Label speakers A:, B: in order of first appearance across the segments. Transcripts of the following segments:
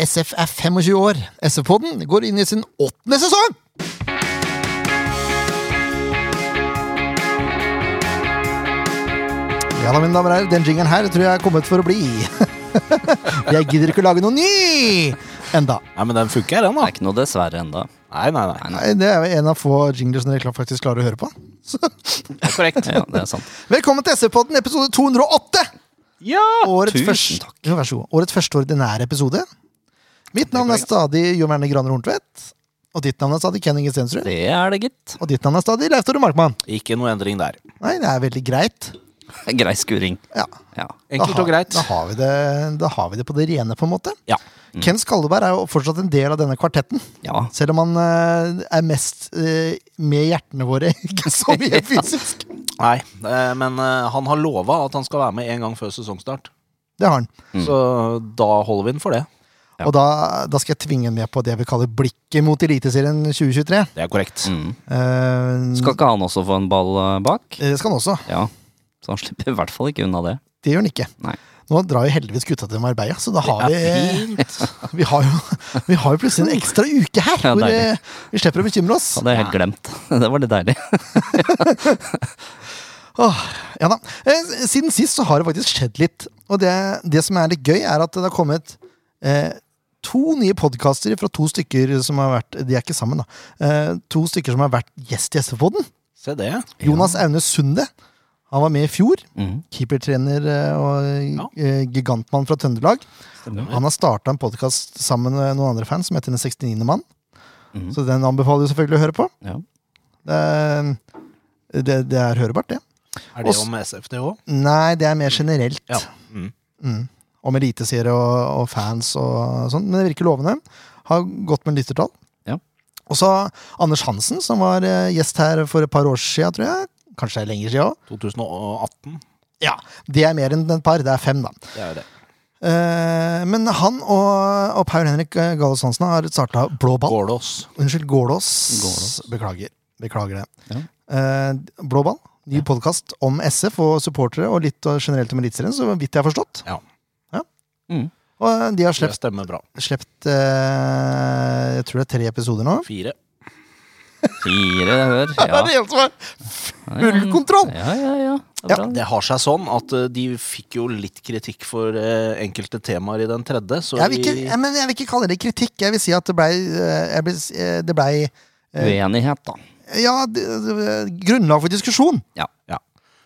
A: SF er 25 år. SF-podden går inn i sin åttende sesong! Ja da, mine damer og herrer, den jingeren her tror jeg er kommet for å bli. jeg gidder ikke å lage noe ny enda.
B: Nei, men den funker, den,
C: Det
B: da.
C: er ikke noe dessverre enda.
B: Nei, nei, nei.
A: Nei, Det er jo en av få jingler som dere klar- faktisk klarer å høre på. Så.
B: Det er korrekt.
C: Ja, det er sant.
A: Velkommen til SV-podden episode 208!
B: Ja!
A: Årets,
C: tusen
A: først- Jo, vær så god. Årets første ordinære episode. Mitt navn er stadig Jo Merne Graner Horntvedt. Og ditt navn er stadig Ken Inge Stensrud.
C: Det er det, gitt.
A: Og ditt navn er stadig Leif Tore Markmann.
B: Ikke noe endring der.
A: Nei, det er veldig greit.
C: Grei skuring.
A: Ja,
C: Ja.
A: da,
B: Enkelt
A: har,
B: og greit.
A: da, har vi det, da har vi det på det rene, på en måte.
B: Ja.
A: Ken Skalleberg er jo fortsatt en del av denne kvartetten.
C: ja.
A: Selv om han eh, er mest eh, med hjertene våre, ikke så mye fysisk.
B: Nei, eh, men eh, han har lova at han skal være med en gang før sesongstart.
A: Det har han.
B: Så da holder vi den for det.
A: Og da, da skal jeg tvinge han med på det vi kaller blikket mot Eliteserien 2023.
B: Det er korrekt.
C: Mm.
A: Eh,
C: Skal ikke han også få en ball eh, bak?
A: Det skal han også.
C: Ja. Så han slipper i hvert fall ikke unna det.
A: Det gjør han ikke.
C: Nei.
A: Nå drar jo heldigvis gutta til Marbella, så da har vi
B: Fint.
A: vi har, jo, vi har jo plutselig en ekstra uke her,
C: Ja,
A: hvor
C: deilig.
A: eh, vi slipper å bekymre oss.
C: Hadde jeg helt glemt. Det var litt deilig.
A: Åh, ja da. Eh, Siden sist så har det faktisk skjedd litt. Og det, det som er litt gøy, er at det har kommet eh, to nye podkaster fra to stykker som har vært De er ikke sammen, da. Eh, to stykker som har vært gjest i SV-podden.
B: Se det.
A: Jonas Aune Sunde. Han var med i fjor.
C: Mhm.
A: Keepertrener eh,
B: Ja.
A: og eh, gigantmann fra Trøndelag.
C: Stemmer.
A: Han har starta en podkast sammen med noen andre fans som heter Den 69. mann. Så den anbefaler du selvfølgelig å høre på.
C: Ja.
A: Det, er- det, det er hørbart, det.
B: Er det om SF, det òg?
A: Nei, det er mer generelt.
B: Ja. Mm.
A: Om eliteserie og, og fans og sånn. Men det virker lovende. Har gått med lyttertall.
C: Ja.
A: Og så Anders Hansen, som var eh, gjest her for et par år sia, tror jeg. Kanskje det er lenger sia òg.
B: 2018.
A: Ja, det er mer enn et par. Det er fem, da.
B: Det er jo det.
A: Eh, men han og, og Paul Henrik Gallos Hansen har starta Blå ball.
B: Gålås.
A: Unnskyld, Gålås.
C: Gålås.
A: Beklager. Beklager det.
C: Ja.
A: Eh, Blå ball, ny podkast om SF og supportere, og litt eh, generelt om Eliteserien, så vidt jeg har forstått.
B: Ja.
C: Mm.
A: Og eh, de har
B: Det
A: slept,
B: stemmer bra.
A: slept eh, jeg tror det er tre episoder nå.
B: Fire.
C: Fire hør. Ja.
A: Det er en som har full kontroll!
C: ja, ja, ja. Det
A: Ja.
C: er bra.
B: Det har seg sånn at eh, de fikk jo litt kritikk for eh, enkelte temaer i den tredje, så
A: Jeg vil, ikke,
B: vi-
A: jeg, men jeg vil ikke kalle det kritikk. Jeg vil si at det blei eh, ble, Det blei
C: Uenighet, da.
A: Ja, det, det- grunnlag for diskusjon.
C: Ja.
B: Ja.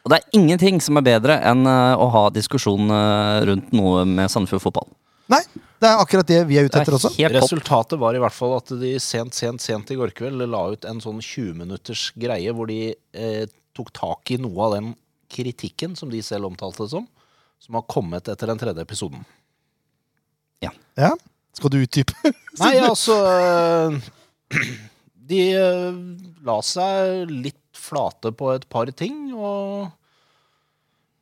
C: Og det er ingenting som er bedre enn eh, å ha diskusjon eh, rundt noe med Sandefjord fotball.
A: Nei, det er akkurat det vi er ute
C: Det
A: etter
C: er
A: også.
C: helt topp.
B: Resultatet var i hvert fall at de sent, sent, sent i går kveld la ut en sånn 20-minutters greie hvor de eh, tok tak i noe av den kritikken som de selv omtalte det som, som har kommet etter den tredje episoden.
A: Ja. Skal du utdype?
B: Nei, altså eh, De eh, la seg litt flate på et par ting, og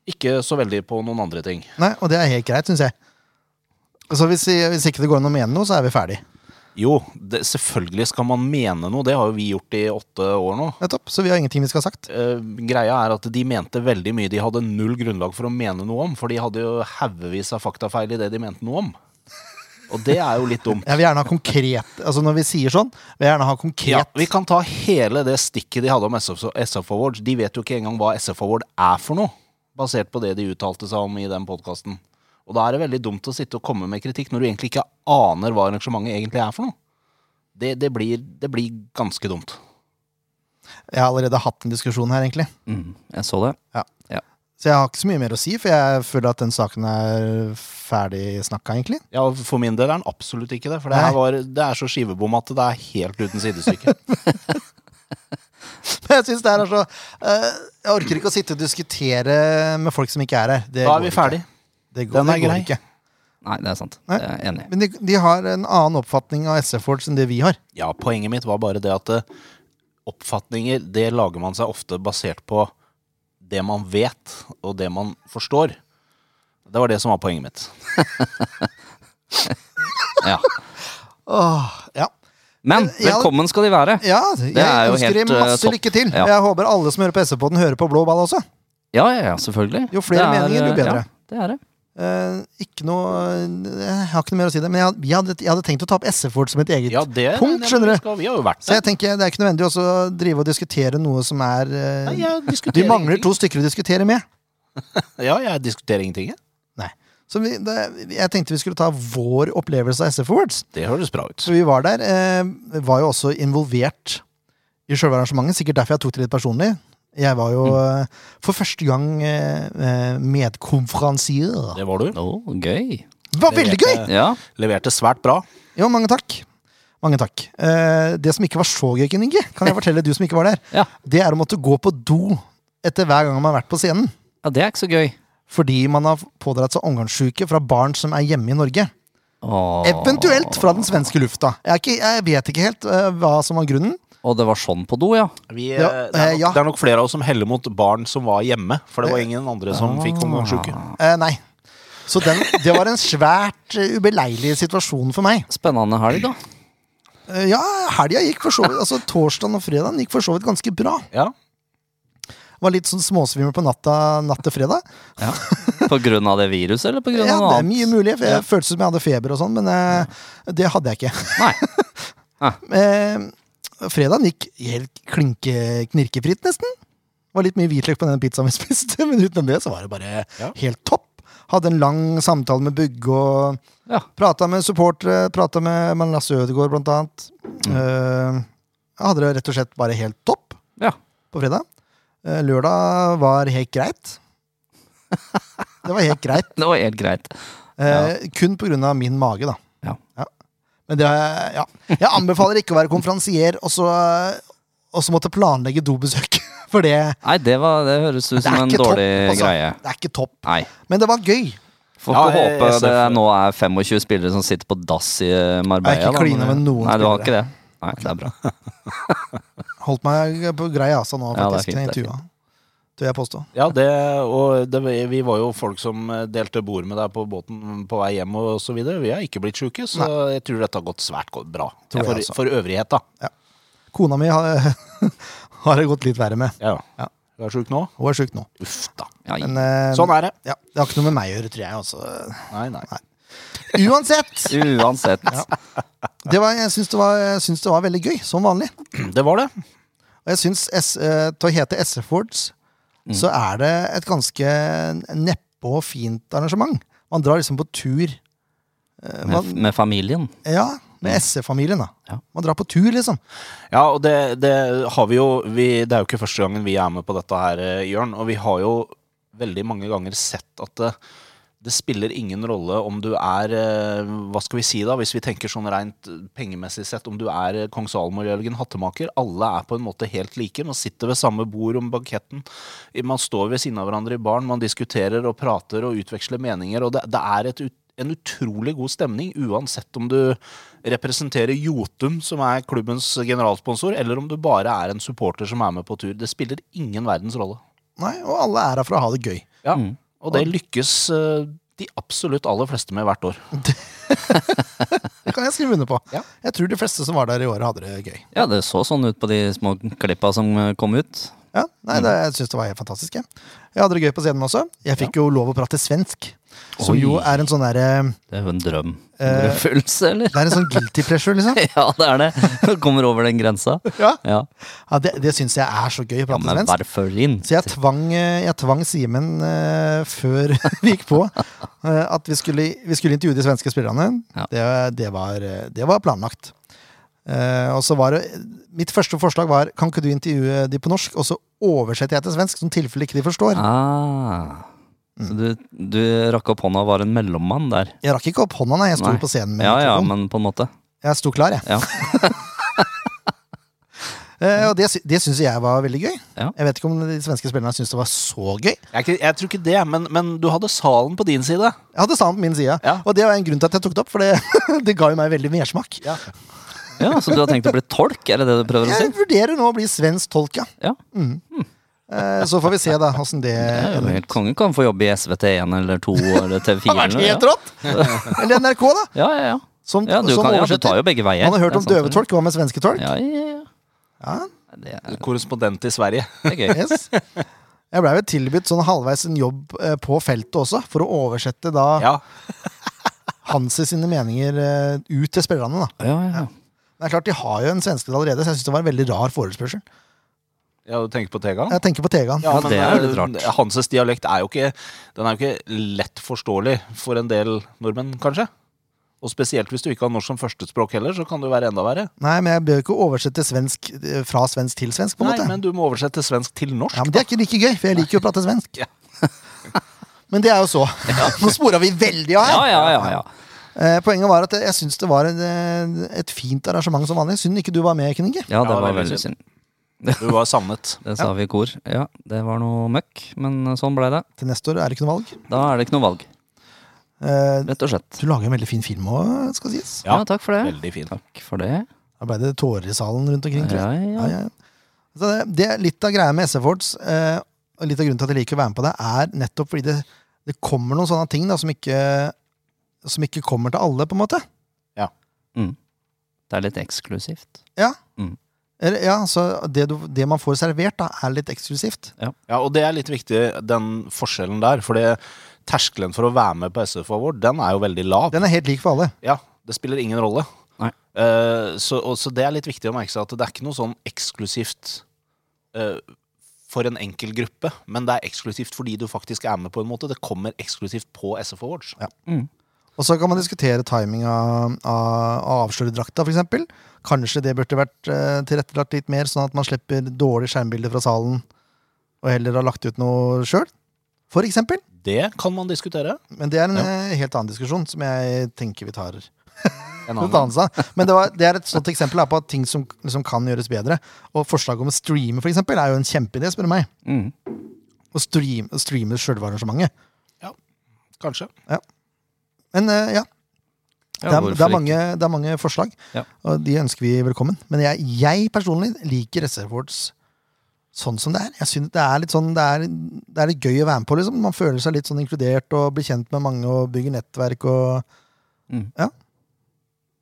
B: ikke så veldig på noen andre ting.
A: Nei, og det er helt greit, syns jeg. Så hvis, hvis ikke det går an å mene noe, så er vi ferdig.
B: Jo, det, selvfølgelig skal man mene noe. Det har jo vi gjort i åtte år nå.
A: Nettopp. Så vi har ingenting vi skal ha sagt.
B: Eh, greia er at de mente veldig mye de hadde null grunnlag for å mene noe om, for de hadde jo haugevis av faktafeil i det de mente noe om. Og det er jo litt dumt.
A: Jeg vil gjerne ha konkret Altså Når vi sier sånn, vil jeg gjerne ha konkret.
B: Ja, vi kan ta hele det stikket de hadde om SF, SF Awards. De vet jo ikke engang hva SF Award er for noe, basert på det de uttalte seg om i den podkasten. Og da er det veldig dumt å sitte og komme med kritikk når du egentlig ikke aner hva arrangementet egentlig er for noe. Det, det, blir, det blir ganske dumt.
A: Jeg har allerede hatt en diskusjon her, egentlig.
C: Mm, jeg så det.
A: Så jeg har ikke så mye mer å si, for jeg føler at den saken er ferdig snakka, egentlig.
B: Ja, For min del er den absolutt ikke det. For det,
A: Nei.
B: her var, det er så skivebom at det er helt uten sidestykke.
A: Men jeg synes det her er så eh, Jeg orker ikke å sitte og diskutere med folk som ikke er her. Det
B: Da
A: går
B: er vi
A: ikke.
B: ferdig.
A: Det går,
B: Den er
A: det går
B: grei.
A: ikke.
C: Nei, det er sant.
A: Nei.
C: Det er jeg enig i.
A: Men de, de har en annen oppfatning av SF-Ford enn det vi har.
B: Ja, poenget mitt var bare det at eh, oppfatninger, det lager man seg ofte basert på det man vet, og det man forstår. Det var det som var poenget mitt.
C: Ja.
A: Åh, ja.
C: Men
A: Ja, det-
C: velkommen skal de være.
A: Ja, jeg
C: er jo
A: ønsker
C: helt,
A: dem
C: eh,
A: masse
C: topp.
A: lykke til.
C: Ja.
A: Jeg håper alle som hører på SV-podden, hører på Blå ball også.
C: Ja, ja, ja, selvfølgelig.
A: Jo flere
C: Det er,
A: meninger, jo
C: eh,
A: bedre.
C: Ja, det er det.
A: Eh, Ikke noe eh, Jeg har ikke noe mer å si det. Men jeg, hadde- jeg, hadde, jeg hadde tenkt å ta opp SF-ord som et eget
B: Ja, det
A: punkt, skjønner du.
B: Skal, vi har jo vært
A: Så
B: der.
A: jeg tenker det er ikke nødvendig også å drive og diskutere noe som er eh,
B: Nei, jeg
A: Du
B: diskuterer
A: mangler
B: ingenting.
A: to stykker å diskutere med.
B: Ja, jeg diskuterer ingenting. jeg.
A: Nei. Så vi, det, jeg tenkte vi skulle ta vår opplevelse av SF Awards.
B: Det høres bra ut.
A: Så vi var der. Eh, var jo også involvert i sjølve arrangementet. Sikkert derfor jeg tok det litt personlig. Jeg var jo eh, for første gang eh, eh, medkonferansier.
B: Det var du.
C: Å, gøy.
A: Det var
B: det
A: veldig
B: vet
A: gøy!
B: jeg.
C: Ja.
B: Leverte svært bra.
A: Jo, mange takk. Mange takk. Eh, det som ikke var så gøy, Ken Inge, kan jeg fortelle du som ikke var der,
C: Ja.
A: det er å måtte gå på do etter hver gang man har vært på scenen.
C: ja, det er ikke så gøy.
A: Fordi man har pådratt seg omgangssyke fra barn som er hjemme i Norge.
C: Åh.
A: Eventuelt fra den svenske lufta. Jeg, er ikke, jeg vet ikke helt eh, hva som var grunnen.
C: Og det var sånn på do, ja.
B: Vi,
A: Ja,
B: eh, det, er
A: eh,
B: nok,
A: ja.
B: det er nok flere av oss som heller mot barn som var hjemme. For det var ingen andre
A: ah.
B: som fikk omgangsuke.
A: Eh, nei. Så den, det var en svært eh, ubeleilig situasjon for meg.
C: Spennende helg, da.
A: Eh, ja, helga gikk for så vidt Altså torsdagen og fredagen gikk for så vidt ganske bra.
B: Ja.
A: Var litt sånn småsvimmel på natta natt til fredag.
C: På grunn av det viruset, eller på grunn
A: Ja,
C: av
A: det
C: noe
A: er mye
C: annet?
A: mulig. for
C: Ja.
A: Jeg føltes som jeg hadde feber og sånn, men eh, det hadde jeg ikke.
C: Nei.
A: Eh, fredagen gikk helt klinke knirkefritt, nesten. Det var litt mye hvitløk på den pizzaen vi spiste, men utenom det så var det bare
B: Ja.
A: helt topp. Hadde en lang samtale med Bugge og
C: Ja.
A: prata med supportere, prata med med Lasse Ødegaard blant annet.
C: Mm.
A: Eh, jeg hadde det rett og slett bare helt topp
C: ja.
A: på fredag. Eh, lørdag var helt greit. Det var helt greit.
C: Det var helt greit.
A: Eh, Kun på grunn av min mage, da.
C: Ja.
A: Men det, er- ja. Jeg anbefaler ikke å være konferansier og så og så måtte planlegge dobesøk. For det,
C: Nei, det, var, det høres ut
A: det
C: som
A: er
C: en
A: ikke
C: dårlig
A: topp. altså.
C: greie.
A: Det er ikke topp.
C: Nei.
A: Men det var gøy.
C: Får
B: Ja,
C: ikke
B: jeg-
C: håpe
B: jeg ser
C: det
B: for-
C: er, nå er 25 spillere som sitter på dass i eh, Marbella.
A: Jeg har ikke
C: da, men-
A: klinet med noen
C: Nei, du har
A: spillere.
C: ikke det. Nei, det er bra.
A: Holdt meg på grei asa nå,
C: Ja, det er
A: faktisk.
C: fint,
A: Ja,
C: det er
A: tua. Det vil jeg påstå.
B: Ja, det, og det, vi var jo folk som eh, delte bord med deg på båten på vei hjem og så videre. Vi har ikke blitt sjuke, så jeg tror dette har gått svært godt bra.
A: Tror jeg
B: For,
A: også.
B: for øvrighet, da.
A: Kona mi har, har det gått litt verre med.
B: Ja.
A: Ja.
B: Du er sjuk nå?
A: Hun er sjuk nå.
B: Uff da.
C: Ja,
A: Men eh,
B: Sånn er det.
A: ja, det har ikke noe med meg å gjøre, tror jeg. Altså.
B: Nei, nei.
A: Uansett!
C: uansett.
A: Det var, jeg syns det, var- jeg syns det var veldig gøy, som vanlig.
B: Det var det.
A: Og jeg syns S, eh, til å hete SF Awards,
B: Mm.
A: så er det et ganske neppe og fint arrangement. Man drar liksom på tur eh,
C: Med,
A: man,
C: med familien.
A: Ja,
B: Mm.
A: med SF-familien, da.
C: Ja.
A: Man drar på tur, liksom.
B: Ja, og det, det har vi jo vi, Det er jo ikke første gangen vi er med på dette her, eh, Jørn. Og vi har jo veldig mange ganger sett at eh, det, det spiller ingen rolle om du er eh, Hva skal vi si da, hvis vi tenker sånn rent pengemessig sett, om du er eh, Kong Salomo eller Jørgen Hattemaker. Alle er på en måte helt like. Man sitter ved samme bord om banketten. Man står ved siden av hverandre i baren. Man diskuterer og prater og utveksler meninger. Og det, det er et ut en utrolig god stemning, uansett om du representerer Jotun, som er klubbens generalsponsor, eller om du bare er en supporter som er med på tur. Det spiller ingen verdens rolle.
A: Nei, og alle er her for å ha det gøy.
B: Ja, Mm. Og det lykkes eh, de absolutt aller fleste med hvert år.
A: Det kan jeg skrive under på.
B: Ja.
A: Jeg tror de fleste som var der i året, hadde det gøy.
C: Ja, det så sånn ut på de små klippa som eh, kom ut.
A: Ja,
C: Mhm.
A: nei, det, Jeg syns det var helt fantastisk. Jeg. jeg hadde det gøy på scenen også. Jeg fikk jo lov å prate svensk, som
C: Oi.
A: jo er en sånn derre
C: Det er jo en drøm. En
A: Eh,
C: drømfølelse, eller?
A: Det er en sånn guilty pleasure, liksom.
C: Ja, det er det. Du kommer over den grensa.
A: Ja,
C: Ja,
A: ja Det, det syns jeg er så gøy å
C: ja
A: prate
C: men
A: svensk.
C: hvorfor ikke?
A: Så jeg tvang, eh, jeg tvang Simen eh, før vi gikk på eh, at vi skulle, vi skulle intervjue de svenske spillerne.
C: Ja.
A: Det, det, var, eh, det var planlagt. Eh, og så var det Mitt første forslag var kan ikke du intervjue de på norsk, og så oversetter jeg til svensk, som tilfelle ikke de forstår.
C: Ah. Så
A: Mm.
C: du, du rakk opp hånda og var en mellommann der?
A: Jeg rakk ikke opp hånda, nei. Jeg sto
C: Nei.
A: på scenen med
C: Ja ja,
A: mikrofon.
C: men på en måte.
A: Jeg sto klar, jeg.
C: Ja.
A: Eh, og det, sy- det syns jeg var veldig gøy.
C: Ja.
A: Jeg vet ikke om de svenske spillerne syntes det var så gøy.
B: Jeg, er ikke- jeg tror ikke det, men, men du hadde salen på din side.
A: Jeg hadde salen på min side,
B: Ja.
A: og det var en grunn til at jeg tok det opp, for det, det ga jo meg veldig mersmak.
B: Ja.
C: Ja, Så du har tenkt å bli tolk, er det det du prøver å si?
A: Jeg vurderer nå å bli svensk tolk, ja.
C: Ja.
A: Eh, Så får vi se da åssen det
C: Ja, ja, Helt kongen kan få jobbe i SVT1 eller 2 eller TV4.
A: Det har vært
C: eller-
A: helt rått! Eller NRK, da.
C: Ja, ja, ja.
A: Som,
C: ja, du,
A: som
C: kan, ja, du
A: oversetter.
C: tar jo begge veier.
A: Man har hørt
C: Det er
A: om
C: sant, det.
A: døvetolk. Hva med svenske tolk?
C: Ja, ja, ja.
A: Ja.
C: Det er,
B: Korrespondent i Sverige.
C: det er gøy.
A: Yes. Jeg blei vel tilbudt sånn halvveis en jobb eh, på feltet også, for å oversette da
B: Ja,
A: Hansi sine meninger eh, ut til spillerne. da.
C: Ja, ja, ja.
A: Men det er klart, De har jo en svenske allerede, så jeg syns det var en veldig rar forespørsel.
B: ja du tenker på Tegan?
A: Jeg tenker på Tegan.
C: Ja, det er jo litt
B: eh,
C: rart.
B: Hanses dialekt er jo ikke Den er jo ikke lett forståelig for en del nordmenn, kanskje. Og spesielt hvis du ikke har norsk som førstespråk heller, så kan det jo være enda verre.
A: Nei, men jeg bør jo ikke oversette svensk eh, fra svensk til svensk, på en
B: Nei,
A: måte.
B: men du må oversette svensk til norsk.
A: Ja, men Det er ikke like gøy, for jeg liker jo å prate svensk.
B: Ja.
A: Men det er jo så. Nå spora vi veldig av her.
C: ja, ja, ja, ja.
A: Eh, poenget var at jeg, jeg syns det var en, eh, et fint arrangement som vanlig. Synd ikke du var med, Kninge.
C: ja det
B: Ja,
C: var
B: veldig
C: veldig synd.
B: Du var savnet.
C: Det sa vi i kor. Ja, det var noe møkk, men sånn ble det.
A: Til neste år er det ikke noe valg.
C: Da er det ikke noe valg,
A: Eh,
C: rett og slett.
A: du lager en veldig fin film òg, skal sies.
B: Ja,
C: Ja, takk for det.
B: Veldig fin.
C: Takk for det.
A: Da ble det tårer i salen rundt omkring. tror jeg.
C: Ja, ja.
A: Ja, ja. Så det, det er litt av greia med SF Awards, eh, og litt av grunnen til at jeg liker å være med på det, er nettopp fordi det, det kommer noen sånne ting da, som, ikke, som ikke kommer til alle, på en måte.
C: Det er litt eksklusivt.
A: Eller, ja, så det, du, det man får servert, da, er litt eksklusivt.
B: Ja, og det er litt viktig, den forskjellen der. For det- terskelen for å være med på SF Award, den er jo veldig lav.
A: Den er helt lik for alle.
B: Ja, det spiller ingen rolle.
C: Nei.
B: Eh, så, og, så det er litt viktig å merke seg at det er ikke noe sånn eksklusivt eh, for en enkel gruppe, men det er eksklusivt fordi du faktisk er med på en måte. Det kommer eksklusivt på SF Awards.
A: Og så kan man diskutere timing av, av, av avsløredrakta, f.eks. Kanskje det burde vært eh, tilrettelagt litt mer, sånn at man slipper dårlige skjermbilder fra salen, og heller har lagt ut noe sjøl, for eksempel.
B: Det kan man diskutere.
A: Men det er en
B: Ja.
A: eh, helt annen diskusjon, som jeg tenker vi tar
B: En
A: Noe
B: annen.
A: annet sa. Men det, var, det er et sånt eksempel da, på at ting som, som kan gjøres bedre. Og forslaget om å streame for eksempel, er jo en kjempeidé, spør du meg.
C: Mm.
A: Å stream, streame selve arrangementet.
B: Kanskje.
A: Men eh, ja,
C: Ja,
A: det er,
C: hvorfor
A: det, er
C: ikke?
A: mange, det er mange forslag,
C: Ja.
A: og de ønsker vi velkommen. Men jeg, jeg personlig liker Reservoirs sånn som det er. Jeg synes Det er litt sånn, det er, det er litt gøy å være med på. liksom. Man føler seg litt sånn inkludert og blir kjent med mange og bygger nettverk. og
C: Mm.
A: ja.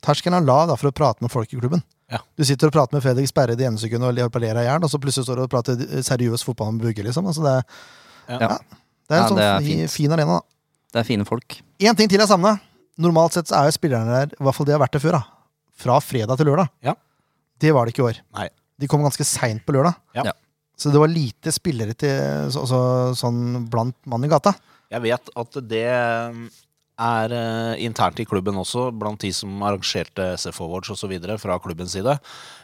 A: Terskelen er lav da, for å prate med folk i klubben.
B: Ja.
A: Du sitter og prater med Fredrik Sperre det ene sekundet og appellerer i hjel, og så plutselig står du og prater seriøs fotball med Bugge. liksom. Altså, det, ja.
B: Ja.
A: det er en
C: Ja, det er
A: sånn fi-
C: fint.
A: fin arena. da.
C: Det er fine folk.
A: En ting til jeg savna. Normalt sett så er jo spillerne der, i hvert fall de har vært det før, da. Fra fredag til lørdag.
B: Ja.
A: Det var det ikke i år.
B: Nei.
A: De kom ganske seint på lørdag.
B: Ja.
C: Ja.
A: Så det var lite spillere til, så, så, sånn blant mann i gata.
B: Jeg vet at det um, er eh, internt i klubben også, blant de som arrangerte SF Awards osv. fra klubbens side.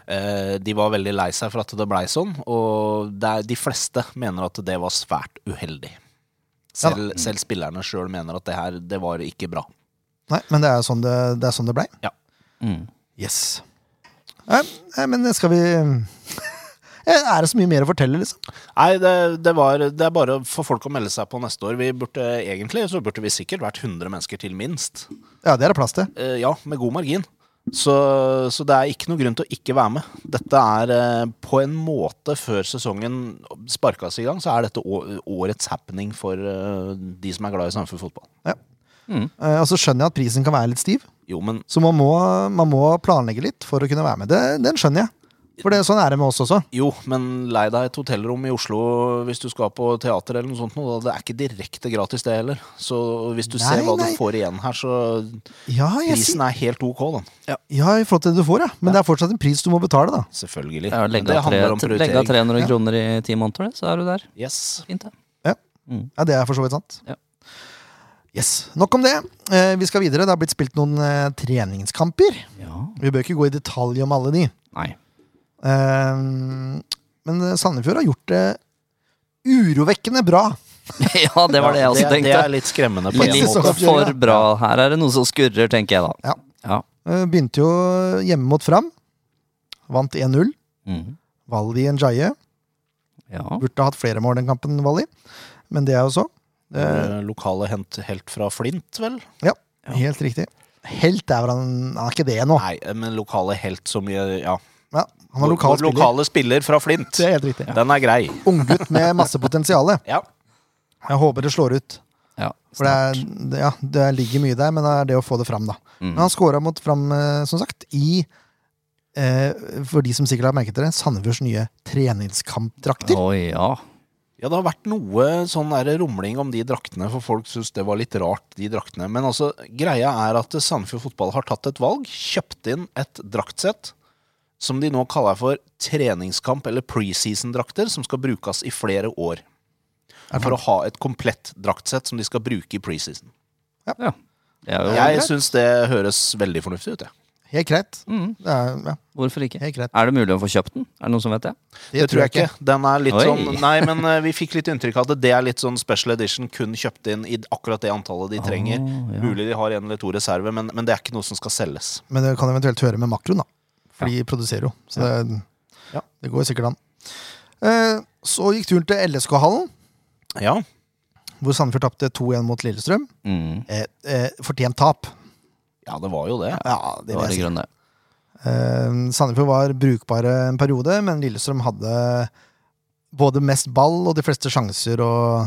B: Eh, de var veldig lei seg for at det blei sånn, og det er, de fleste mener at det var svært uheldig. Selv, selv spillerne sjøl mener at det her det var ikke bra.
A: Nei, men det er sånn det, det, er sånn det blei.
C: Mm.
A: Yes. Nei, nei, Eh, men skal vi eh, Er det så mye mer å fortelle, liksom?
B: Nei, det, det, var, det er bare for folk å melde seg på neste år. Vi burde egentlig så burde vi sikkert vært 100 mennesker til minst.
A: Ja, det er det plass til.
B: Eh, ja, med god margin. Så, så det er ikke noe grunn til å ikke være med. Dette er eh, på en måte før sesongen sparkes i gang, så er dette å- årets happening for eh, de som er glad i samfunnsfotball.
A: Eh, Og så skjønner jeg at prisen kan være litt stiv,
B: Jo, men
A: så man må, man må planlegge litt for å kunne være med. Det, den skjønner jeg. For det, sånn er det med oss også.
B: jo, men lei deg et hotellrom i Oslo hvis du skal på teater eller noe sånt. nå, da. Det er ikke direkte gratis, det heller. Så hvis du ser
A: Nei,
B: hva
A: nei.
B: du får igjen her, så
A: Ja, jeg sier
B: Prisen er helt ok, da.
A: Ja, i forhold til det du får, ja. Men det er fortsatt en pris du må betale, da.
B: Selvfølgelig.
C: Det er å
B: Men
C: legge
B: det
C: av tre-
B: handler om
C: legge av
B: prioritering.
C: 300 kroner i ti måneder, det, så er du der.
B: Yes.
C: Fint, det.
A: Ja, Det er for så vidt sant.
C: Ja.
A: Yes. Nok om det. Eh, vi skal videre. Det har blitt spilt noen eh, treningskamper.
C: Ja.
A: Vi bør ikke gå i detalj om alle de.
C: Nei.
A: Eh, men eh, Sandefjord har gjort det urovekkende bra.
C: ja, det var det jeg også
B: det, det
C: tenkte.
B: er litt skremmende på en måte.
C: Litt for bra. Her er det noe som skurrer, tenker jeg da.
A: Ja. Eh, begynte jo hjemme mot Fram. Vant 1-0.
C: Mm.
A: Valli Njaye.
C: Ja.
A: Burde ha hatt flere mål den kampen, Valli. Men det er jo så. Eh,
B: Eh, Lokale hent helt fra Flint, vel?
A: Helt riktig. Helt er vel han Han er ikke det nå.
B: Nei, men lokale helt som i- Ja.
A: Ja, han er lokal
B: Lokale
A: spiller.
B: lokale spiller fra Flint.
A: Det er helt riktig.
B: Den er grei.
A: Unggutt med masse potensial.
B: Ja.
A: Jeg håper det slår ut.
C: ja.
A: For det, er, det- ja, det ligger mye der, men det er det å få det fram, da. Men han scora mot Fram, eh, som sagt, i eh, For de som sikkert har merket det, Sandefjords nye treningskampdrakter.
C: Å ja.
B: Ja, det har vært noe sånn der rumling om de draktene, for folk syns det var litt rart, de draktene. Men altså, greia er at Sandefjord Fotball har tatt et valg, kjøpt inn et draktsett som de nå kaller for treningskamp- eller preseason-drakter, som skal brukes i flere år. For å ha et komplett draktsett som de skal bruke i preseason.
C: Ja. Det er jo
B: Jeg
C: greit.
B: syns det høres veldig fornuftig ut, jeg.
A: Helt greit.
C: Mm,
A: Det er, ja,
C: hvorfor ikke?
A: helt greit.
C: Er det mulig å få kjøpt den? Er det noen som vet det?
A: Det, tror jeg ikke.
B: Den er litt
C: Oi.
B: sånn Nei, men eh, vi fikk litt inntrykk av at det er litt sånn special edition, kun kjøpt inn i akkurat det antallet de trenger.
C: Å, Ah, ja.
B: Mulig de har en eller to reserver, men, men det er ikke noe som skal selges.
A: Men det kan eventuelt høre med makroen, da. For de produserer jo. Så det,
B: Ja.
A: det går sikkert an. Eh, så gikk turen til LSK-hallen,
B: Ja,
A: hvor Sandefjord tapte 2-1 mot Lillestrøm.
C: Mm,
A: Eh, eh, fortjent tap.
B: ja det var jo det.
A: Ja, det
C: det
A: vil
C: var i
A: jeg si.
C: grunnen det.
A: Eh, Sandefjord var brukbare en periode, men Lillestrøm hadde både mest ball og de fleste sjanser og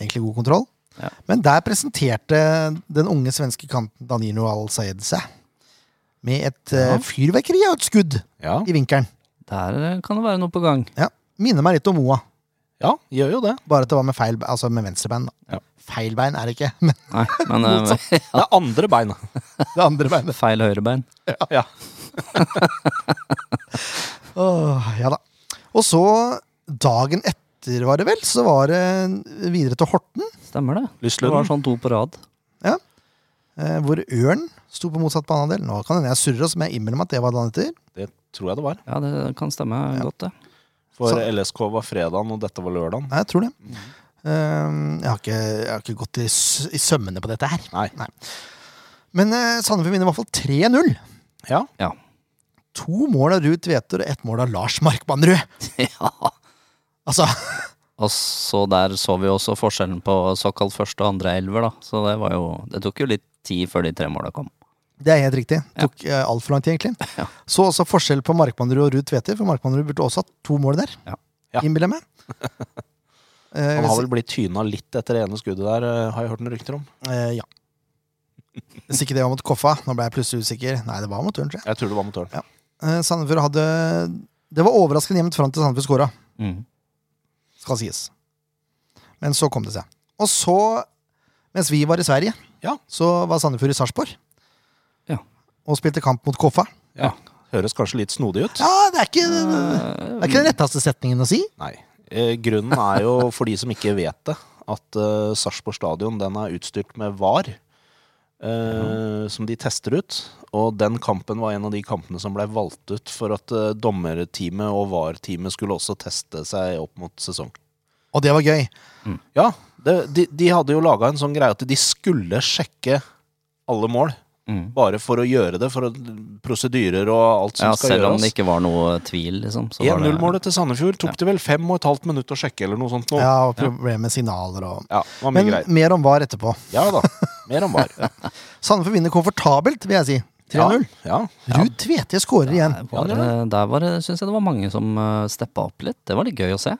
A: egentlig god kontroll.
C: Ja.
A: Men der presenterte den unge svenske kanten Danilo Al-Sayed seg med et eh,
C: Ja.
A: fyrverkeri og et skudd
B: Ja,
A: i vinkelen.
C: Der eh, kan det være noe på gang.
A: Ja. Minner meg litt om Moa,
B: ja gjør jo det.
A: bare at det var med feil, altså med venstrebein. da.
B: Ja.
A: Feil bein er det ikke, men
C: Nei, men eh,
B: Det er andre bein.
A: det andre beinet.
C: feil høyrebein.
B: Ja.
A: Åh, ja da. Og så, dagen etter var det vel, så var det videre til Horten.
C: Stemmer det. Det
B: Lyslund.
C: var sånn to på rad.
A: eh, hvor Ørn sto på motsatt banehalvdel. Nå kan hende jeg surrer, også, men jeg innbiller meg at det var dagen etter.
B: Det tror jeg det var.
C: Ja, det kan stemme godt, det.
B: For
A: Så-
B: LSK var fredagen, og dette var lørdagen.
A: Nei, jeg tror det. Eh, jeg, har ikke, jeg har ikke gått i, s- i sømmene på dette her.
B: Nei.
A: Men uh, Sandefjord vinner i hvert fall 3-0.
B: Ja.
C: Ja.
A: To mål av Ruud Tveter og ett mål av Lars Markmannrud.
C: ja.
A: Altså,
C: Og så der så vi også forskjellen på såkalt første og andre elver, da. Så det var jo Det tok jo litt tid før de tre måla kom.
A: det er helt riktig. Det tok uh, altfor lang tid, egentlig.
C: Ja.
A: Så også forskjell på Markmannrud og Ruud Tveter, for Markmannrud burde også hatt to mål der.
C: Ja.
B: Ja.
A: Innbiller jeg meg. Eh,
B: Han
A: hvis-
B: har vel blitt tyna litt etter det ene skuddet der, eh, har jeg hørt noen rykter om.
A: eh, ja. Hvis ikke det var mot Koffa. Nå ble jeg plutselig usikker. Nei, det var mot Ørn, tror jeg.
B: Jeg tror det var mot Ørn.
A: Eh, Sandefjord hadde Det var overraskende jevnt fram til Sandefjord skåra,
C: Mm.
A: skal sies. Men så kom det seg. Og så, mens vi var i Sverige,
B: Ja.
A: så var Sandefjord i Sarpsborg.
C: Ja.
A: Og spilte kamp mot Koffa.
B: Høres kanskje litt snodig ut.
A: Ja, det er ikke, det
C: Eh,
A: er ikke den retteste setningen å si.
B: Nei. Eh, grunnen er jo, for de som ikke vet det, at eh, Sarpsborg stadion den er utstyrt med VAR. eh, Som de tester ut. Og den kampen var en av de kampene som ble valgt ut for at eh, dommerteamet og VAR-teamet skulle også teste seg opp mot sesong.
A: Og det var gøy.
B: Ja, det, de, de hadde jo laga en sånn greie at de skulle sjekke alle mål.
C: Mm.
B: Bare for å gjøre det, for å, prosedyrer og alt som
C: Ja,
B: skal
C: selv om
B: gjøres.
C: det ikke var noe tvil, liksom. så var det-
B: 1-0-målet til Sandefjord tok det vel fem og et halvt minutt å sjekke, eller noe sånt. Nå.
A: Ja, og problemer med signaler og
B: Ja, det var mye
A: Men
B: greier.
A: mer om VAR etterpå.
B: Ja da. Mer om VAR.
A: Sandefjord vinner komfortabelt, vil jeg si. 3-0.
B: Ja, ja.
A: Ruud Tvete skårer igjen.
C: Der var det, der var det, syns jeg det var mange som uh, steppa opp litt. Det var litt gøy å se.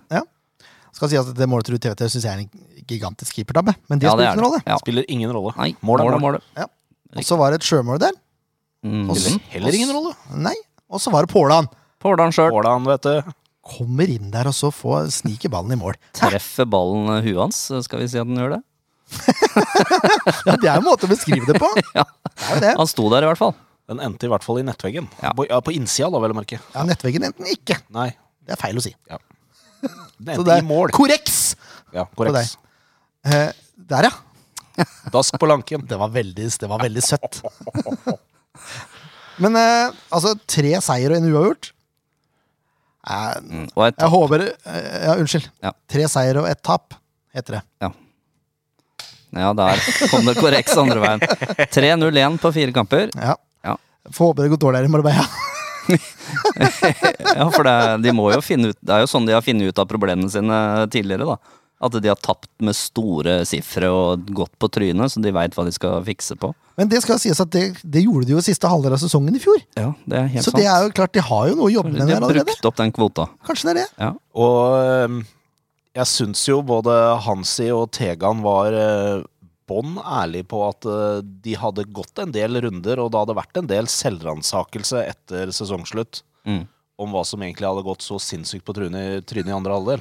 A: Skal si at Det målet til Ruud Tvete syns jeg er en gigantisk keepertabbe, men det
C: Ja,
A: spiller ingen rolle.
C: Ja.
B: Spiller ingen rolle.
C: Nei,
B: Mål er
C: målet,
B: mål.
C: målet.
A: Og så var det et sjømål der.
C: Mm.
B: Spiller heller ingen rolle.
A: Nei. Og så var det Pålan.
C: Pålan sjøl
B: Haaland, vet du.
A: Kommer inn der og så får sniker ballen i mål.
C: treffer ballen eh, huet hans, skal vi si at den gjør det?
A: Ja, Det er en måte å beskrive det på.
C: Ja.
A: Det er jo det.
C: Han sto der i hvert fall.
B: Den endte i hvert fall i nettveggen.
C: Ja.
B: På, ja, på innsida, da, vel å merke.
A: Ja, Nettveggen enten ikke.
B: Nei.
A: Det er feil å si.
B: Den
A: Så
B: endte
A: det
B: i
A: er
B: mål.
A: korreks!
B: Ja,
A: deg.
B: korrekt.
A: Eh, der, ja.
B: Dask på lanken.
A: Det var veldig, det var veldig søtt. Men eh, altså, tre seier og en uavgjort eh,
C: Mm. Og et,
A: Jeg håper eh, Ja, unnskyld.
C: Ja.
A: Tre seier og ett tap, heter det.
C: ja, der kom det korreks andre veien. 3-0-1 på fire kamper.
A: Ja.
C: Ja.
A: Får håpe det går dårligere i Marbella.
C: Ja, for det, de må jo finne ut Det er jo sånn de har funnet ut av problemene sine eh, tidligere, da. At de har tapt med store sifre og gått på trynet, så de veit hva de skal fikse på.
A: Men det skal sies at det, det gjorde de jo siste halvdel av sesongen i fjor.
C: Ja, det er helt
A: Så
C: sant.
A: det er jo klart, de har jo noe å jobbe med
C: de har
A: der allerede.
C: brukt opp den kvota.
A: Kanskje det er det.
C: Ja.
B: Og øhm, jeg syns jo både Hansi og Tegan var øh, bånn ærlig på at øh, de hadde gått en del runder, og det hadde vært en del selvransakelse etter sesongslutt
C: Mm.
B: om hva som egentlig hadde gått så sinnssykt på trynet, trynet i andre halvdel.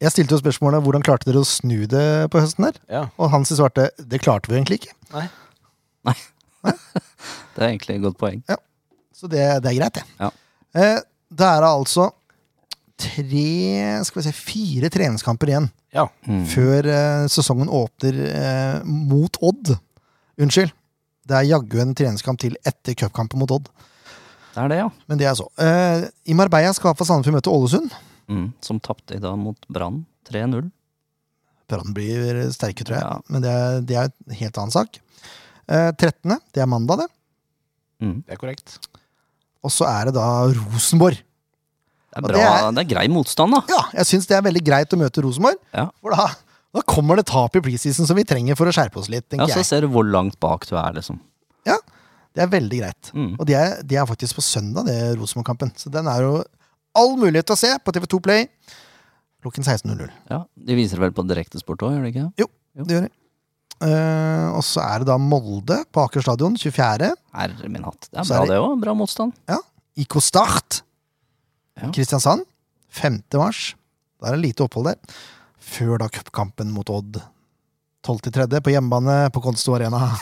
A: Jeg stilte jo spørsmålet hvordan klarte dere å snu det på høsten der?
B: Ja.
A: Og Hansi svarte det klarte vi egentlig ikke.
B: Nei.
C: Det er egentlig et godt poeng.
A: Så det, det er greit, det.
C: Ja.
A: Eh, det er altså tre Skal vi se, fire treningskamper igjen
B: Ja.
C: Mm.
A: før eh, sesongen åpner eh, mot Odd. Unnskyld. Det er jaggu en treningskamp til etter cupkampen mot Odd.
C: Det er det, ja.
A: Men det er så. Eh, I Marbella skal Afa Sandefjord møte Ålesund.
C: Mm. Som tapte i dag mot Brann 3-0.
A: Brann blir sterke, tror jeg.
C: Ja.
A: Men det er, det er en helt annen sak. Eh, 13. Det er mandag, det.
C: Mm.
B: Det er korrekt.
A: Og så er det da Rosenborg.
C: Det er
A: Og
C: bra, det er, grei motstand, da.
A: Ja, jeg syns det er veldig greit å møte Rosenborg.
C: Ja.
A: For da, da kommer det tap i preseason som vi trenger for å skjerpe oss litt,
C: Ja,
A: tenker
C: Så ser du hvor langt bak du er, liksom.
A: jeg. Det er veldig greit.
C: Mm.
A: Og det er, det er faktisk på søndag, det Rosenborg-kampen. Så den er jo all mulighet til å se på TV2 Play klokken 16.00.
C: Ja, De viser vel på direktesport òg, gjør de ikke? Jo.
A: Det gjør de. Eh, og så er det da Molde på Aker stadion 24.
C: Herre min hatt. Det er
A: Så
C: bra,
A: er det-
C: det òg. Bra motstand.
A: IK Start.
C: Ja.
A: Kristiansand. 5. mars. Da er det lite opphold der. Før da cupkampen mot Odd. 12.3. på hjemmebane på Konsto Arena.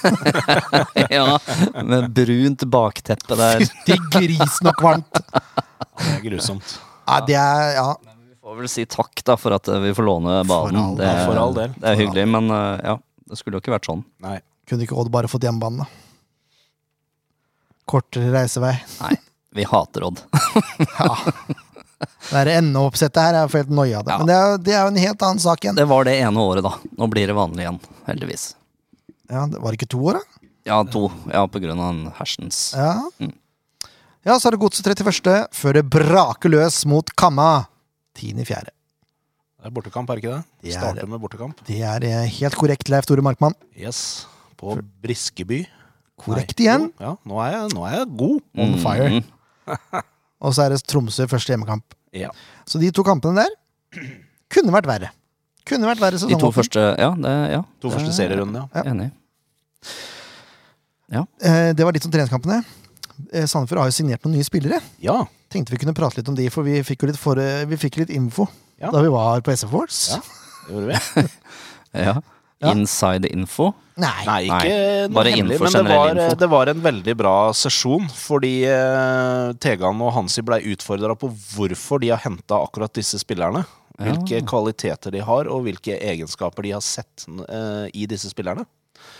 C: ja, Med brunt bakteppe der.
A: Fytti grisen og kvalmt!
B: Det er grusomt.
A: Nei, det er Ja.
C: Vi får vel si takk da for at eh, vi får låne banen.
A: all-
C: det,
B: for all del.
C: det er hyggelig, men eh, ja, det skulle jo ikke vært sånn.
B: Nei.
A: Kunne ikke Odd bare fått hjemmebane, da? Kortere reisevei.
C: Vi hater Odd.
A: Det er NO-oppsettet her. Jeg får helt noia av det.
C: Ja.
A: Men det er, det er jo en helt annen sak igjen.
C: Det var det ene året, da. Nå blir det vanlig igjen, heldigvis.
A: Ja, det var det ikke to år, da?
C: Ja, to. Ja, på grunn av den hersens.
A: Ja.
C: Mm.
A: ja, så er det Godset 31. før det braker løs mot Kamma. 10.4.
B: Det er bortekamp, er det ikke det?
A: Det er
B: Starter
A: det.
B: med bortekamp.
A: Det er eh, helt korrekt, Leif Tore Markmann.
B: Yes. På Briskeby.
A: Korrekt
B: Nei.
A: igjen.
B: Jo, Ja, nå er jeg, nå er jeg god.
A: On
C: Mm.
A: fire. Og så er det Tromsø første hjemmekamp.
B: Ja.
A: Så de to kampene der kunne vært verre. Kunne vært verre
C: De to
A: sesongåpen.
C: første Ja, det, ja.
B: To
C: det
B: første
C: er-
B: serierundene, ja.
A: Ja.
C: Enig.
A: Eh, Det var litt om treningskampene. Eh, Sandefjord har jo signert noen nye spillere.
B: Ja.
A: Tenkte vi kunne prate litt om de, for vi fikk jo litt, for, eh, vi fikk litt info
B: Ja.
A: da vi var på SF Awards.
B: Ja. Det gjorde vi.
C: Ja.
A: Ja.
C: Inside info.
A: Nei.
B: Nei, ikke
C: Nei,
B: noe
C: bare
B: hemmelig,
C: info,
B: men det var,
C: generell info.
B: det var en veldig bra sesjon. Fordi eh, Tegan og Hansi blei utfordra på hvorfor de har henta akkurat disse spillerne. Hvilke kvaliteter de har, og hvilke egenskaper de har sett eh, i disse spillerne.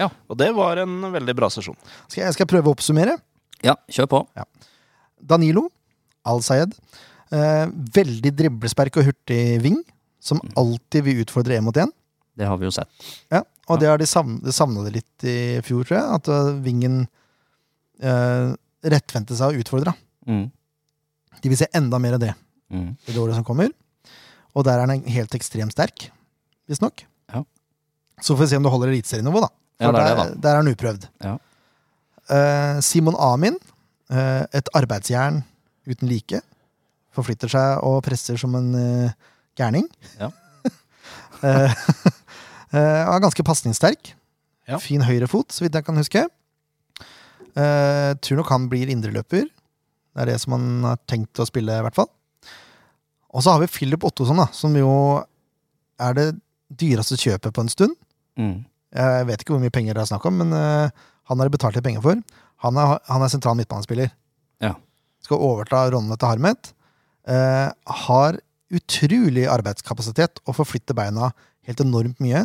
C: Ja.
B: Og det var en veldig bra sesjon.
A: Skal jeg, skal jeg prøve å oppsummere?
C: Ja, kjør på.
A: Danilo, Al-Sayed. Eh, veldig driblesterk og hurtig ving, som alltid vil utfordre én mot én.
C: Det har vi jo sett.
A: Ja, og det har de savna de savna det litt i fjor, tror jeg. At eh, vingen eh, rettvendte seg og utfordra.
C: Mm.
A: De vil se enda mer av det
C: Mm.
A: i det året som kommer. Og der er han helt ekstremt sterk, visstnok.
C: Ja.
A: Så får vi se om det holder eliteserienivå, da.
C: Ja, det er det,
A: der, der er han uprøvd.
C: Ja.
A: Eh, Simon Amin, eh, et arbeidsjern uten like. Forflytter seg og presser som en eh, gærning.
C: Ja.
A: Eh, eh, er ganske pasningssterk.
B: Ja.
A: Fin høyrefot, så vidt jeg kan huske. Eh, tror nok han blir indreløper. Det er det som han har tenkt å spille, i hvert fall. Og så har vi Philip Ottosson, da, som jo er det dyreste kjøpet på en stund.
C: Mm.
A: Jeg vet ikke hvor mye penger det er snakk om, men eh, han har det betalt litt penger for. Han er, han er sentral midtbanespiller.
C: Ja.
A: Skal overta rollene til Harmet. Eh, har utrolig arbeidskapasitet og forflytter beina helt enormt mye.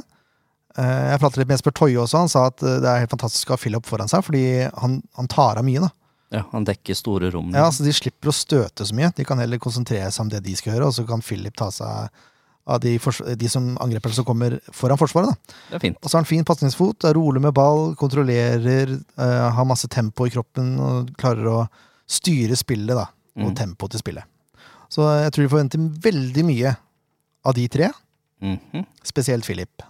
A: Eh, jeg pratet litt med Jesper Toje også. Han sa at eh, det er helt fantastisk å ha Philip foran seg, fordi han, han tar av mye. da.
C: Ja, han dekker store rom.
A: Ja, så De slipper å støte så mye. De kan heller konsentrere seg om det de skal gjøre, og så kan Philip ta seg av de, fors- de som angriper som kommer foran forsvaret. da.
C: Det er fint.
A: Og så har han fin pasningsfot, er rolig med ball, kontrollerer, eh, har masse tempo i kroppen og klarer å styre spillet da, og
C: Mm.
A: tempoet til spillet. Så jeg tror de forventer veldig mye av de tre,
C: Mhm.
A: spesielt Philip.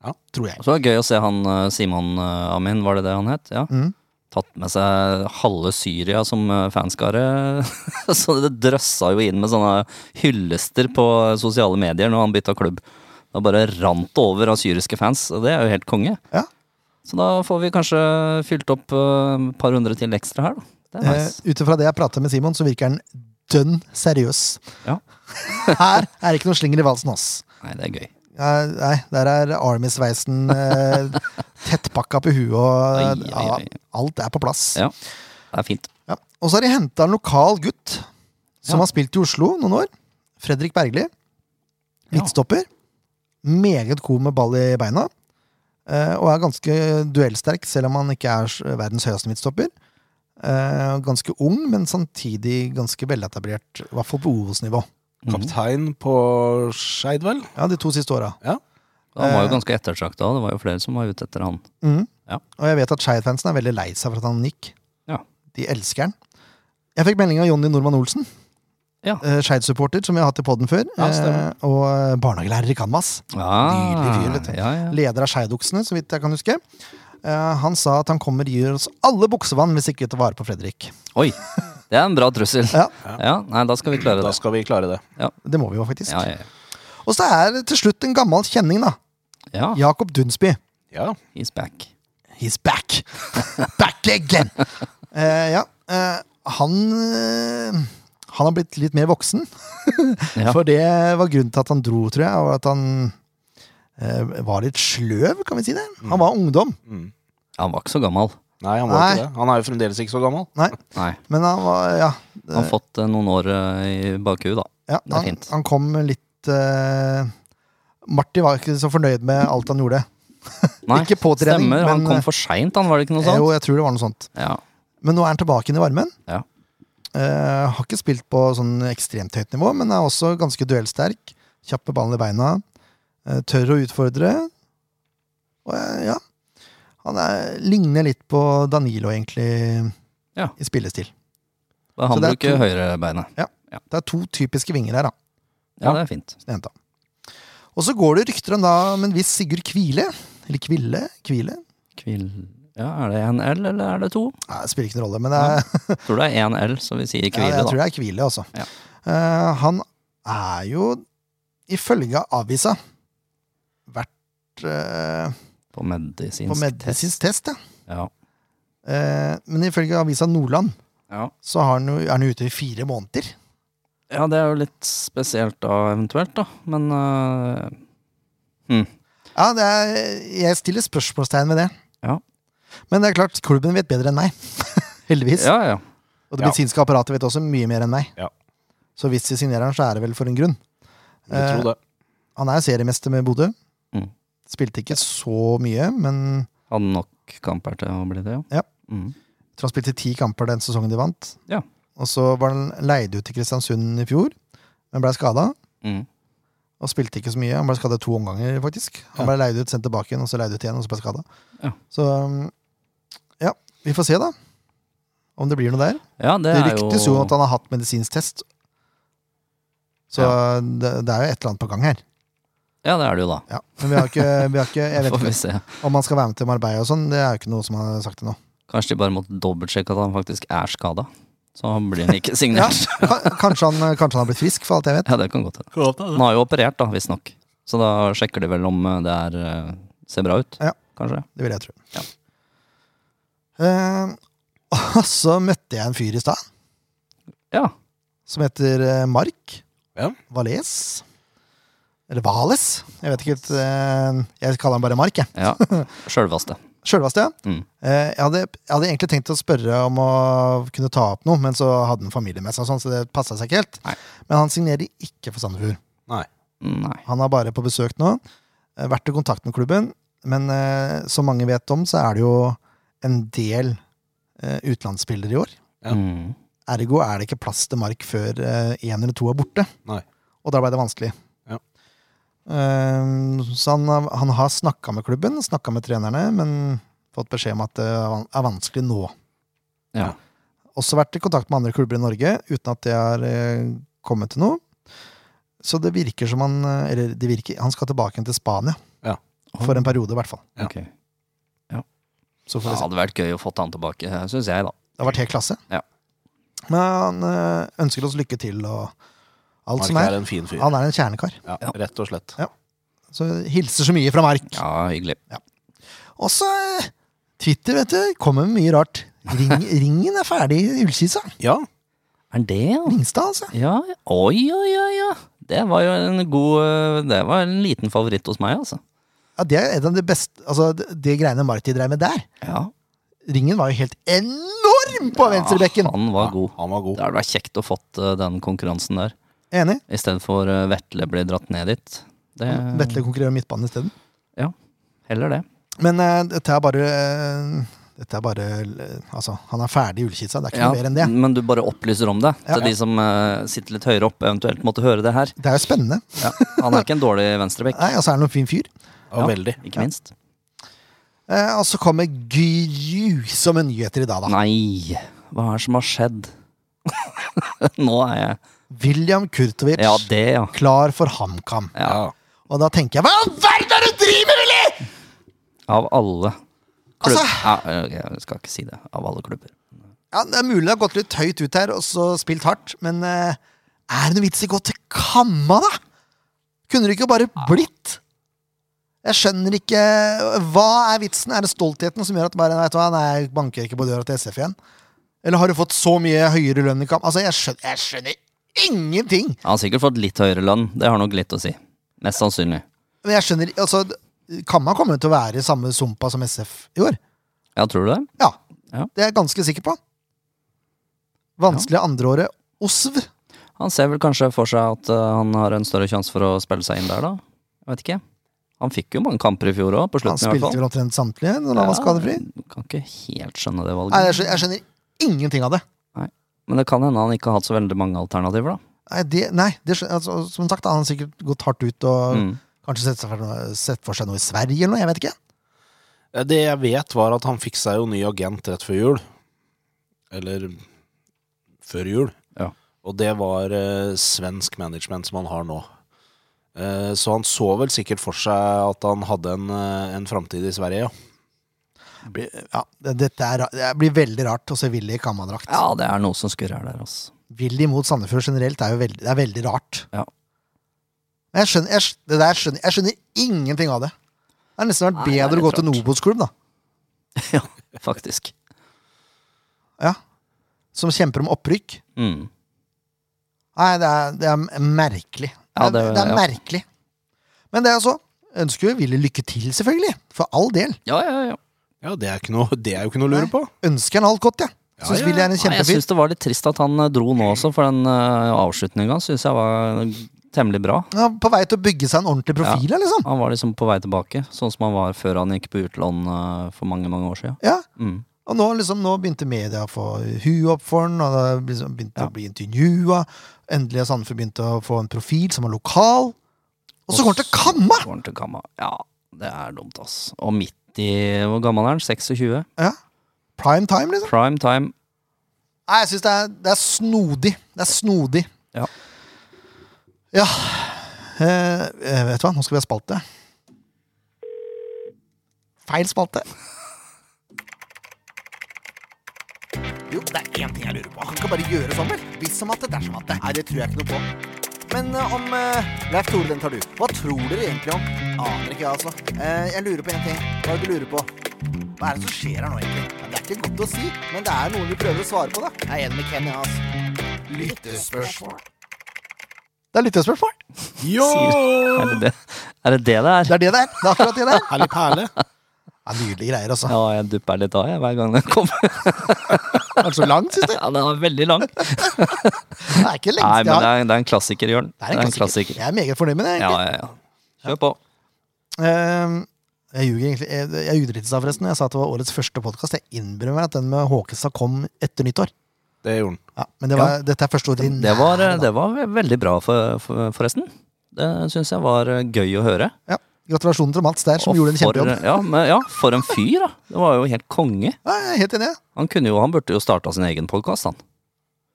B: Ja.
A: Tror jeg.
C: Så var det gøy å se han eh, Simon eh, Amin, var det det han het? Ja.
A: Mm.
C: Tatt med seg halve Syria som eh, fanskare. så det drøssa jo inn med sånne hyllester på eh, sosiale medier når han bytta klubb. Da bare rant det over av syriske fans, og det er jo helt konge.
A: Ja.
C: Så da får vi kanskje fylt opp eh, et par hundre til ekstra her, da. Det er
A: Eh,
C: nice.
A: Ut ifra det jeg prata med Simon, så virker han dønn seriøs.
C: Ja.
A: Her er det ikke noe slinger i valsen, ass.
C: Nei, det er gøy.
A: Nei, nei, der er Army-sveisen eh, tettpakka på huet, og
C: Ai, ai, ai.
A: ja, alt er på plass.
C: Ja, det er fint.
A: Ja. Og så har de henta en lokal gutt som
C: Ja.
A: har spilt i Oslo noen år. Fredrik Bergli. Midtstopper. Meget god med ball i beina. eh, Og er ganske duellsterk, selv om han ikke er s- verdens høyeste midtstopper. Eh, Ganske ung, men samtidig ganske veletablert, i hvert fall på Ovos-nivå.
B: Kaptein på Skeid, vel?
A: Ja, de to siste åra.
C: Han
A: Eh.
C: var jo ganske ettertrakta, det var jo flere som var ute etter han.
A: Mhm.
C: Ja.
A: Og jeg vet at Skeid-fansen er veldig lei seg for at han gikk.
C: Ja.
A: De elsker han. Jeg fikk melding av Jonny Normann Olsen,
C: Ja.
A: eh, Skeid-supporter, som vi har hatt i podden før.
B: Ja, stemmer.
A: eh, og eh, barnehagelærer i Kanvas. Nydelig fyr, vet du.
C: Ja, ja.
A: Leder av Skeidoksene, så vidt jeg kan huske. Eh, han sa at han kommer og gir oss alle buksevann hvis ikke vi tar vare på Fredrik.
C: Oi, det er en bra trussel.
A: Ja.
C: Ja, nei, da skal vi klare
B: Da
C: det.
B: skal vi klare det.
A: Det må vi jo faktisk.
C: Ja, ja, ja.
A: Og så er det til slutt en gammel kjenning, da.
C: ja.
A: Jakob Dunsby.
B: Ja.
C: He's back.
A: He's back! back again! Eh, ja. eh, han eh, Han har blitt litt mer voksen.
C: Ja.
A: For det var grunnen til at han dro, tror jeg. Og at han eh, var litt sløv, kan vi si det. Han var ungdom,
B: Mm.
C: Han var ikke så gammel.
B: Nei, han var
A: Nei.
B: ikke det. Han er jo fremdeles ikke så gammel.
C: Nei.
A: men han var Ja.
C: Han har fått eh, noen år eh, i bakhuet, da.
A: ja
C: er
A: han,
C: fint.
A: han kom litt eh, Martin var ikke så fornøyd med alt han gjorde.
C: Nei,
A: Ikke på trening,
C: stemmer. Han
A: men, eh,
C: kom for seint, han, var det ikke noe sånt?
A: Jo, jeg tror det var noe sånt.
C: Ja.
A: Men nå er han tilbake inn i varmen.
C: Ja.
A: Eh, har ikke spilt på sånn ekstremt høyt nivå, men er også ganske duellsterk. Kjapp med ballen i beina. Eh, tør å utfordre. Og eh, ja Han er, ligner litt på Danilo, egentlig,
C: Ja.
A: i spillestil.
C: Da han
A: Så det er
C: bruker
A: to-
C: høyrebeinet.
A: Det er to typiske vinger her, da.
C: Ja, det er fint.
A: som jeg henta. Og så går det rykter om da om en viss Sigurd Kvile. Eller Kvile? Kvile?
C: Kvil... Ja, er det én L, eller er det to?
A: Nei, det spiller ikke noen rolle, men det er,
C: Tror det er én L, så vi sier
A: ja,
C: kvile,
A: jeg tror
C: da.
A: det er Kvile, altså.
C: Ja.
A: Eh, han er jo, ifølge avisa, vært eh,
C: På medisinsk
A: på medisinsk test, ja.
C: Ja.
A: Eh, men ifølge avisa Nordland
C: Ja.
A: så har han jo, er han ute i fire måneder.
C: ja, det er jo litt spesielt da, eventuelt, da. Men eh,
A: Ja, det er, Jeg stiller spørsmålstegn ved det.
C: Ja.
A: Men det er klart, klubben vet bedre enn meg. Heldigvis.
C: ja, ja.
A: Og det
B: Ja.
A: medisinske apparatet vet også mye mer enn meg.
B: Ja.
A: Så hvis de signerer han, så er det vel for en grunn. Eh,
B: Jeg tror det.
A: Han er seriemester med Bodø.
C: Mm.
A: Spilte ikke så mye, men jeg
C: Hadde nok kamper til å bli det,
A: Ja.
C: Mm.
A: tror han spilte ti kamper den sesongen de vant.
C: Ja.
A: Og så var han leid ut til Kristiansund i fjor, men blei skada.
C: Mm.
A: Og spilte ikke så mye. Han ble skada to omganger, faktisk. Han ble leid ut, sendt tilbake igjen, og så leid ut igjen, og så ble skada.
C: Ja.
A: Så um, ja, vi får se, da. Om det blir noe der.
C: Ja, det,
A: Det
C: er jo
A: ryktes jo at han har hatt medisinsk test. Så det, det er jo et eller annet på gang her.
C: Ja, det er det jo, da.
A: Ja. Men vi har ikke, vi har ikke Jeg vet
C: Får vi
A: ikke
C: se.
A: om han skal være med til Marbella og sånn. Det er jo ikke noe som han har sagt ennå.
C: Kanskje de bare måtte dobbeltsjekke at han faktisk er skada. Så han blir han ikke
A: Ja,
C: signert. ja.
A: ka- kanskje, han- kanskje han har blitt frisk, for alt jeg vet.
C: det kan godt hende. Han har jo operert, da, visstnok. Så da sjekker de vel om eh, det er eh, ser bra ut.
A: Ja.
C: Kanskje.
A: Det vil jeg tro.
C: Ja.
A: Eh, og så møtte jeg en fyr i stad
C: Ja.
A: som heter eh, Mark
B: Ja.
A: Valles. Eller Vales. Jeg vet ikke helt eh, Jeg kaller han bare Mark, jeg.
C: ja. Sjølvaste.
A: Sjølvaste, ja.
C: Mm.
A: Eh, jeg, hadde, jeg hadde egentlig tenkt å spørre om å kunne ta opp noe, men så hadde han familie med seg, og sånn, så det passa seg ikke helt.
C: Nei.
A: Men han signerer ikke for Sandefjord.
B: Nei.
C: Nei.
A: Han er bare på besøk nå. eh, Vært i kontakt med klubben, men eh, som mange vet om, så er det jo en del eh, utenlandsspillere i år.
B: Ja.
C: Mm.
A: Ergo er det ikke plass til Mark før én eller to er borte.
B: Nei.
A: Og da ble det vanskelig.
B: Ja.
A: Ehm, så han, har- han har snakka med klubben, snakka med trenerne, men fått beskjed om at det er van- er vanskelig nå.
C: Ja.
A: Også vært i kontakt med andre klubber i Norge uten at det har eh, kommet til noe. Så det virker som han eh, Eller det virker, han skal tilbake igjen til Spania.
B: Ja.
A: For en periode, i hvert fall.
B: Ja.
C: Ok.
A: Så får
C: Det
A: vi se.
C: hadde vært gøy å få han tilbake, syns jeg, da.
A: Det har vært helt klasse.
C: Ja.
A: Men han eh, ønsker oss lykke til og alt som
B: Mark
A: er.
B: er en fin fyr.
A: Han er en kjernekar.
B: Ja,
C: Ja.
B: rett og slett.
A: Så hilser så mye fra Mark.
C: Ja, hyggelig.
A: Og så eh, Twitter, vet du. Kommer med mye rart. Ring, ringen er ferdig i Ullkisa.
B: Ja.
C: Er det, ja?
A: Ringstad, altså.
C: Ja, oi, oi, oi, ja. Det var jo en god eh, Det var en liten favoritt hos meg, altså.
A: Ja, det er et av de beste Altså, det det greiene Marti dreiv med der.
C: Ja,
A: Ringen var jo helt enorm på venstrebekken!
C: Ah, Han var god.
B: Han var god.
C: Det hadde vært kjekt å fått eh, den konkurransen der.
A: Enig.
C: I stedet for eh, Vetle ble dratt ned dit. Det,
A: Vetle konkurrerer om midtbanen isteden.
C: Ja, heller det.
A: Men eh, dette er bare eh, Dette er bare eh, Altså, han er ferdig i ullkisa. Det er ikke
C: Ja,
A: noe mer enn det.
C: Men du bare opplyser om det
A: Ja.
C: til de som eh, sitter litt høyere opp, eventuelt måtte høre det her.
A: Det er jo spennende.
C: Han er ikke en dårlig venstrebekk,
A: Nei, altså er han en fin fyr.
B: Ja,
C: Ja.
B: Veldig.
C: ikke minst.
A: Eh, og så kommer grusomme nyheter i dag, da.
C: Nei, hva er det som har skjedd? Nå er jeg
A: William Kurtovic
C: Ja, det, ja.
A: klar for HamKam.
C: Ja.
B: Ja.
A: Og da tenker jeg Hva i all verden er det du driver med, Willy?!
C: Av alle klubb...
A: Altså-
C: Ja, ok, jeg skal ikke si det. Av alle klubber.
A: Ja, det er mulig det har gått litt høyt ut her og så spilt hardt, men eh, er det noe vits i å gå til Kamma, da? Kunne det ikke bare blitt? Jeg skjønner ikke Hva er vitsen? Er det stoltheten som gjør at bare, vet du hva, nei, jeg banker ikke på døra til SF igjen? Eller har du fått så mye høyere lønn i Kam? Altså, jeg skjønner, jeg skjønner ingenting!
C: Han har sikkert fått litt høyere lønn, det har nok litt å si. Mest sannsynlig.
A: Men jeg skjønner altså, Kamma kommer til å være i samme sumpa som SF i år.
C: Ja, tror du det?
A: Ja.
C: Ja.
A: Det er jeg ganske sikker på. Vanskelig andreåret Osv.
C: Han ser vel kanskje for seg at eh, han har en større sjanse for å spille seg inn der, da. Jeg vet ikke. Han fikk jo mange kamper i fjor òg, på
A: Han
C: slutten i hvert
A: spilte
C: fall.
A: vel omtrent samtlige når han var skadefri.
C: Ja, kan ikke helt skjønne det valget.
A: Nei, jeg skjønner, jeg skjønner ingenting av det.
C: Men det kan hende han ikke har hatt så veldig mange alternativer, da.
A: Nei, det, nei, det skjønner, altså, Som sagt, da, han har sikkert gått hardt ut og
C: Mm.
A: kanskje sett, seg for noe, sett for seg noe i Sverige eller noe. Jeg vet ikke.
B: Eh, Det jeg vet, var at han fikk seg jo ny agent rett før jul. Eller før jul.
C: Ja.
B: Og det var eh, svensk management som han har nå. Eh, så han så vel sikkert for seg at han hadde en, eh, en framtid i Sverige, ja.
A: Det blir, ja, det, dette er, ra- det blir veldig rart å se Willy i kammadrakt.
C: Ja, det er noe som skurrer der, altså.
A: Willy mot Sandefjord generelt er jo veldig, det er veldig rart.
C: Ja.
A: Men jeg skjønner, jeg, skj- det der skjønner, jeg skjønner ingenting av det. Det har nesten vært
C: Nei, det er
A: bedre å gå
C: litt
A: til en
C: rart.
A: Obos-klubb, da.
C: ja, faktisk.
A: Ja. Som kjemper om opprykk.
C: Mm.
A: Nei, det er, det er merkelig. det,
C: Ja,
A: er-
C: det-
A: det er
C: ja.
A: merkelig. Men det er så. Ønsker jo Willy lykke til, selvfølgelig. For all del.
C: Ja, ja, ja.
B: Ja, det er, ikke noe, det er jo ikke noe å lure
A: Nei.
B: på.
A: Ønsker han alt godt, jeg.
B: Ja,
A: Syns
B: ja,
A: Willy er en
C: Nei, jeg
A: kjempefyr.
C: syns det var litt trist at han eh, dro nå også, for den uh, avslutninga syns jeg var temmelig bra.
A: Han er på vei til å bygge seg en ordentlig profil, ja. liksom.
C: Han var liksom på vei tilbake, sånn som han var før han gikk på utlån eh, for mange, mange år siden.
A: Ja.
C: Mm.
A: Og nå, liksom, nå begynte media å få huet opp for den, og det liksom begynte
C: Ja.
A: å bli intervjua. Endelig har Sandefjord begynt å få en profil som er lokal. Og så går han til Kamma!
C: Går han til Kamma. Ja, det er dumt, ass. Og midt i Hvor gammel er han? 26?
A: Ja. Prime time, liksom.
C: Prime time.
A: Nei, jeg syns det, er- det er snodig. Det er snodig.
C: Ja.
A: Ja. Eh, eh, vet du hva, nå skal vi ha spalte. Feil spalte. Jo, det er én ting jeg lurer på. Han skal bare gjøre sånn, vel? Hvis som at det, dersom at det. Nei, det tror jeg ikke noe på. Men eh, om eh, Leif Tore, den tar du. Hva tror dere egentlig om? Aner ikke, jeg, altså. Eh, jeg lurer på én ting. Hva er det du lurer på? Hva er det som skjer her nå, egentlig? Ja, Det er ikke godt å si, men det er noen vi prøver å svare på, da. Jeg er enig med Ken, jeg, altså. Lyttespørsmål. Det er lyttespørsmål.
B: Jo!
C: Er det det er? Det det det er?
A: Det er det det er. Det er akkurat det det er.
B: Herlig perle.
A: Ja, Nydelige greier, altså.
C: Ja, jeg dupper litt av jeg, hver gang den kommer.
A: Det er så langt, syns jeg.
C: Ja, den er veldig lang. Nei,
A: Det er ikke lengst
C: men
A: jeg
C: det
A: har.
C: er, det er en klassiker, Jørn.
A: Det er en klassiker. Jeg er meget fornøyd med det,
C: Ja,
A: egentlig.
C: ja, ja. Kjør på.
A: Ehm, Jeg ljuger egentlig. Jeg jeg ljuger litt i stad, forresten. Jeg sa at det var årets første podkast. Jeg innbiller meg at den med Håkestad kom etter nyttår.
B: Det gjorde han.
A: Ja, men det var, dette er første ordinære.
C: Det var, eh,
A: da.
C: det var ve- veldig bra, for, for, forresten. Det syns jeg var eh, gøy å høre.
A: Ja. Gratulasjoner til Mats der, som
C: Og
A: gjorde en
C: for-
A: kjempejobb.
C: Ja, men, ja, for en fyr, da. Det var jo helt konge.
A: Ja, jeg er helt enig. jeg.
C: Han, kunne jo, han burde jo starta sin egen podkast, han.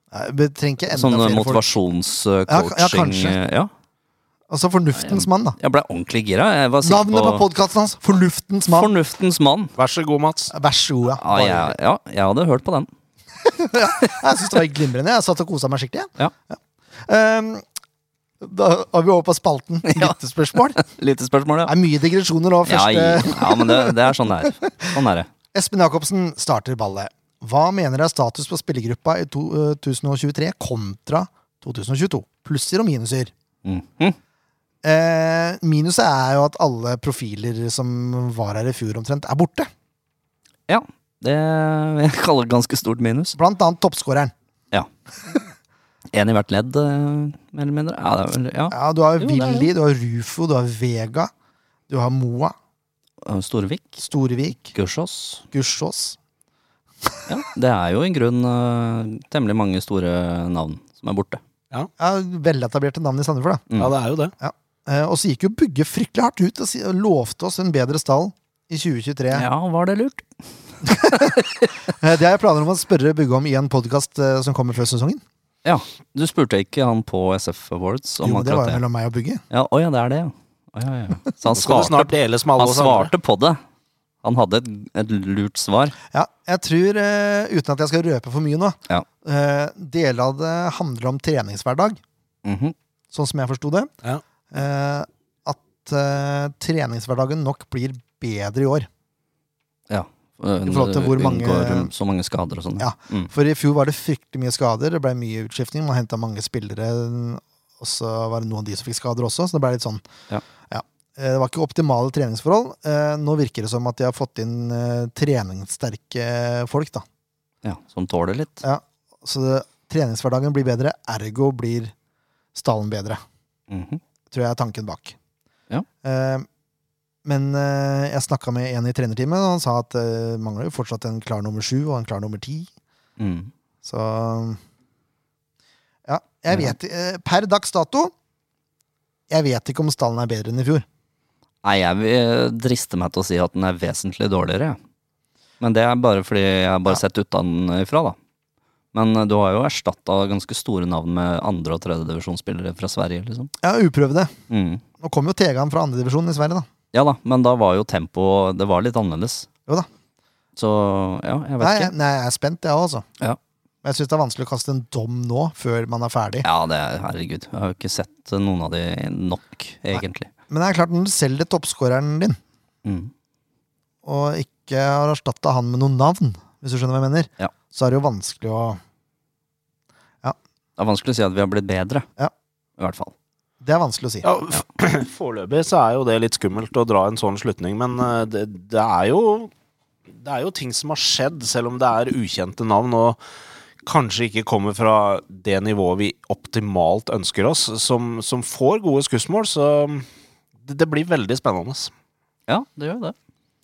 A: Jeg trenger ikke enda
C: Sånn
A: flere folk. Ja, ka- ja,
C: motivasjonscoaching.
A: kanskje.
C: ja.
A: Altså fornuftens mann, da.
C: Jeg ble ordentlig gira. Jeg var sikker
A: Navnet på
C: på
A: podkasten hans! Fornuftens mann.
C: Fornuftens mann.
B: Vær så god, Mats.
A: Vær så god, ja.
C: Ah, Ja,
A: Bare-
C: jeg, ja, jeg hadde hørt på den.
A: Jeg syns det var glimrende. Jeg satt og kosa meg skikkelig. jeg.
C: Ja.
A: Ehm, da er vi over på spalten
C: Ja.
A: lyttespørsmål. Det
C: Lite spørsmål, ja.
A: er mye digresjoner nå.
C: Ja,
A: Første
C: ja, men det, det er sånn det er. Sånn er det.
A: Espen Jacobsen starter ballet. Hva mener dere er status på spillergruppa i to- eh, 2023 kontra 2022? Plusser og minuser?
C: Mhm.
A: Eh, minuset er jo at alle profiler som var her i fjor omtrent, er borte.
C: Ja, det vil jeg kalle et ganske stort minus.
A: Blant annet toppskåreren.
C: Ja. Én i hvert ledd, eh, mer eller mindre. Ja, det er vel, ja.
A: Ja, du har
C: Jo, det er
A: Willy, du har Rufo, du har Vega, du har Moa,
C: Storvik,
A: Storevik,
C: Gursås.
A: Gussiås.
C: Ja, det er jo i grunn eh, temmelig mange store navn som er borte.
A: Ja, Veletablerte navn i Sandefjord, da.
C: Mm.
B: Ja, det er jo det.
A: Eh, og så gikk jo Bugge fryktelig hardt ut og si- og lovte oss en bedre stall i 2023.
C: Ja, var det lurt?
A: Eh, det har jeg planer om å spørre Bugge om i en podkast eh, som kommer før sesongen.
C: Ja, du spurte ikke han på SF Awards om
A: Jo, det
C: akkurat
A: var jo
C: det?
A: mellom meg og Bugge.
C: Ja, å ja, det er det, ja. Å, ja, ja. Så han
B: Nå skal du
C: svarte,
B: snart deles med alle
C: han
B: oss andre.
C: svarte på det. Han hadde et, et lurt svar.
A: Ja, jeg tror, eh, uten at jeg skal røpe for mye nå,
C: Ja.
A: eh, deler av det handler om treningshverdag,
C: Mhm.
A: sånn som jeg forsto det.
B: Ja.
A: Eh, at eh, treningshverdagen nok blir bedre i år.
C: Ja.
A: I forhold til hvor mange-
C: Unngår så mange skader og sånn.
A: Ja.
C: Mm.
A: For i fjor var det fryktelig mye skader, det ble mye utskiftning, man henta mange spillere, og så var det noen av de som fikk skader også, så det ble litt sånn.
C: Ja.
A: Eh, Det var ikke optimale treningsforhold. Eh, Nå virker det som at de har fått inn eh, treningssterke folk, da.
C: Ja, som tåler litt.
A: Ja, så det, treningshverdagen blir bedre, ergo blir stallen bedre.
C: Mhm.
A: Tror jeg er tanken bak.
C: Ja.
A: Eh, men eh, jeg snakka med en i trenerteamet, og han sa at det mangler jo fortsatt en klar nummer sju og en klar nummer ti.
C: mm.
A: Så Ja, jeg vet eh, Per dags dato Jeg vet ikke om stallen er bedre enn i fjor.
C: Nei, jeg vil eh, driste meg til å si at den er vesentlig dårligere. jeg. Men det er bare fordi jeg har bare
A: Ja.
C: sett utenfra, da. Men eh, du har jo erstatta ganske store navn med andre- og tredjedivisjonsspillere fra Sverige, liksom.
A: Ja, uprøvde.
C: Mm.
A: Nå kom jo Tegan fra andredivisjonen i Sverige, da.
C: Ja da, men da var jo tempoet Det var litt annerledes.
A: Jo da.
C: Så ja, jeg vet
A: Nei,
C: ikke.
A: jeg, nei, jeg er spent, jeg òg, altså.
C: Ja.
A: Men Jeg syns det er vanskelig å kaste en dom nå, før man er ferdig.
C: Ja, det er, herregud. Jeg har jo ikke sett eh, noen av de nok, egentlig.
A: Men det er klart, når du selger toppskåreren din,
C: Mm.
A: og ikke har erstatta han med noe navn, hvis du skjønner hva jeg mener,
C: Ja.
A: så er det jo vanskelig å
C: Det er vanskelig å si at vi har blitt bedre.
A: Ja.
C: I hvert fall.
A: Det er vanskelig å si.
B: Ja, f- Foreløpig så er jo det litt skummelt å dra en sånn slutning, men eh, det, det er jo Det er jo ting som har skjedd, selv om det er ukjente navn og kanskje ikke kommer fra det nivået vi optimalt ønsker oss, som, som får gode skussmål, så det, det blir veldig spennende.
C: Ja, det gjør det.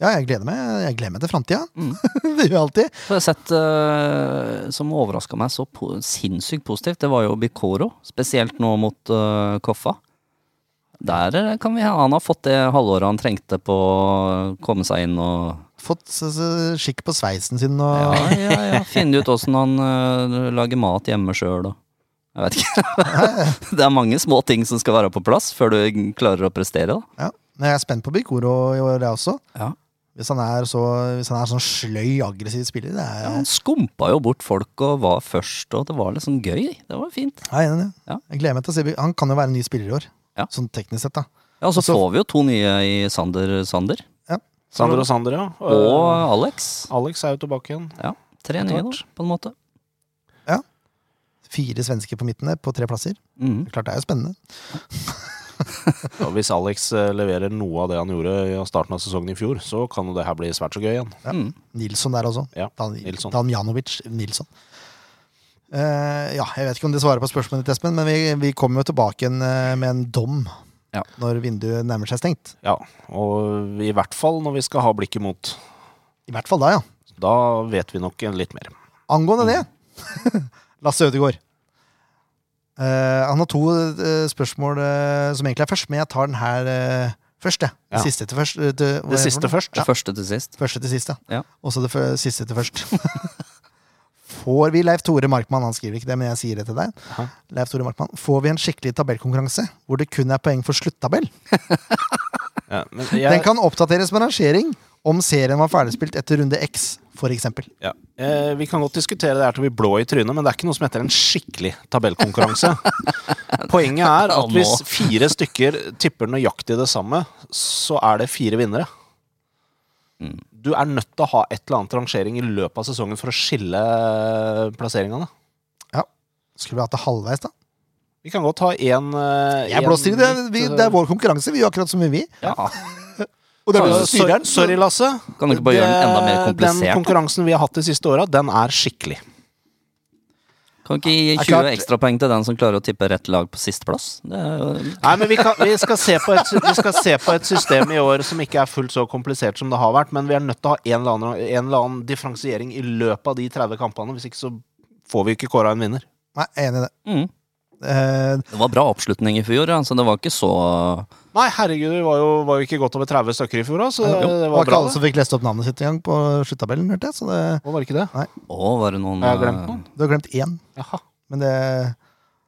A: Ja, jeg gleder meg, jeg gleder meg til framtida.
C: Mm.
A: det gjør jeg alltid.
C: Så har jeg sett eh, som overraska meg så po sinnssykt positivt, det var jo Bikoro. Spesielt nå mot eh, Koffa. Der eh, kan vi Han har fått det halvåret han trengte på å komme seg inn og
A: Fått s- s- skikk på sveisen sin og
C: Ja, ja, ja. Finne ut åssen han eh, lager mat hjemme sjøl og Jeg vet ikke. det er mange små ting som skal være på plass før du klarer å prestere, da.
A: Ja. Men jeg er spent på Bikoro i år, jeg også.
C: Ja.
A: Hvis han er så hvis han er sånn sløy, aggressiv spiller. Det er,
C: Ja, han skumpa jo bort folk og var først, og det var liksom gøy. Det var fint.
A: Jeg er enig i det.
C: Ja.
A: Jeg gleder meg til å se Bi- Han kan jo være en ny spiller i år.
C: Ja.
A: Sånn teknisk sett, da.
C: Ja, Og så
A: Altså-
C: får vi jo to nye i Sander Sander.
B: Sander og Sander, ja.
C: Og
B: Eh,
C: Alex.
B: Alex er jo tilbake igjen.
C: Ja, tre nye, da, på en måte.
A: Fire svensker på midten der, på tre plasser.
B: Mm.
C: Mhm.
A: Klart det er jo spennende.
B: Og hvis Alex eh, leverer noe av det han gjorde i starten av sesongen i fjor, så kan jo det her bli svært så gøy igjen.
C: Mhm.
A: Nilsson der også.
B: Ja,
A: Dan,
B: Nilsson.
A: Dan Janovic Nilsson. Eh, ja, jeg vet ikke om det svarer på spørsmålet ditt, Espen, men vi, vi kommer jo tilbake igjen eh, med en dom
C: Ja.
A: når vinduet nærmer seg stengt.
B: Ja, og i hvert fall når vi skal ha blikket mot.
A: I hvert fall da, ja.
B: Da vet vi nok en litt mer.
A: Angående det Lasse Ødegaard. Eh, han har to eh, spørsmål eh, som egentlig er først, men jeg tar den her eh, først. jeg. Det
B: Ja.
A: siste til først. eh, til- hva heter
B: Det siste
A: den?
B: først.
C: Det første til sist.
A: Første til siste.
C: Ja.
A: Og så det fø- siste til først. Får vi Leif Tore Markmann, han skriver ikke det, men jeg sier det til deg.
B: Hæ?
A: Leif Tore Markmann, Får vi en skikkelig tabellkonkurranse hvor det kun er poeng for sluttabell?
B: Ja, men
A: Den
B: jeg,
A: kan oppdateres med rangering om serien var ferdigspilt etter runde X, for eksempel.
B: ja, eh, vi kan godt diskutere det her til vi er blå i trynet, men det er ikke noe som heter en skikkelig tabellkonkurranse. Poenget er at hvis fire stykker tipper nøyaktig det samme, så er det fire vinnere.
C: Mm.
B: Du er nødt til å ha et eller annet rangering i løpet av sesongen for å skille eh, plasseringene.
A: Skulle vi hatt det halvveis, da?
B: Vi kan godt ha eh, én
A: Jeg blåser i det.
B: eh,
A: Vi, det er vår konkurranse. Vi gjør akkurat som vi vil.
C: Ja.
A: Og det er vi
C: Ja,
B: Sorry,
A: som styrer den.
B: sorry, Lasse.
C: Kan du ikke bare gjøre den enda mer
B: Det- Den
C: komplisert, da?
B: konkurransen vi har hatt de siste åra, den er skikkelig.
C: Kan ikke gi
A: er
C: 20
A: klart-
C: ekstrapoeng til den som klarer å tippe rett lag på sisteplass? Det er jo
B: Nei, men vi, kan, vi, skal se på et, vi skal se på et system i år som ikke er fullt så komplisert som det har vært, men vi er nødt til å ha en eller annen, en eller annen differensiering i løpet av de 30 kampene. Hvis ikke så får vi ikke kåra en vinner.
A: Nei, jeg er enig i det.
C: mm.
A: Eh,
C: Det var bra oppslutning i fjor, ja, så det var ikke så
B: Nei, herregud, vi var jo, var jo ikke godt over 30 stykker i fjor òg, så det, det
A: det var
B: var
A: ikke
B: bra.
A: alle
B: Det.
A: som fikk lest opp navnet sitt engang på sluttabellen, hørte jeg. Så det,
B: Å, var det Ah. ikke det?
C: Å, var det noen
B: Har jeg glemt noe?
A: du har glemt én.
B: Jaha.
A: Men det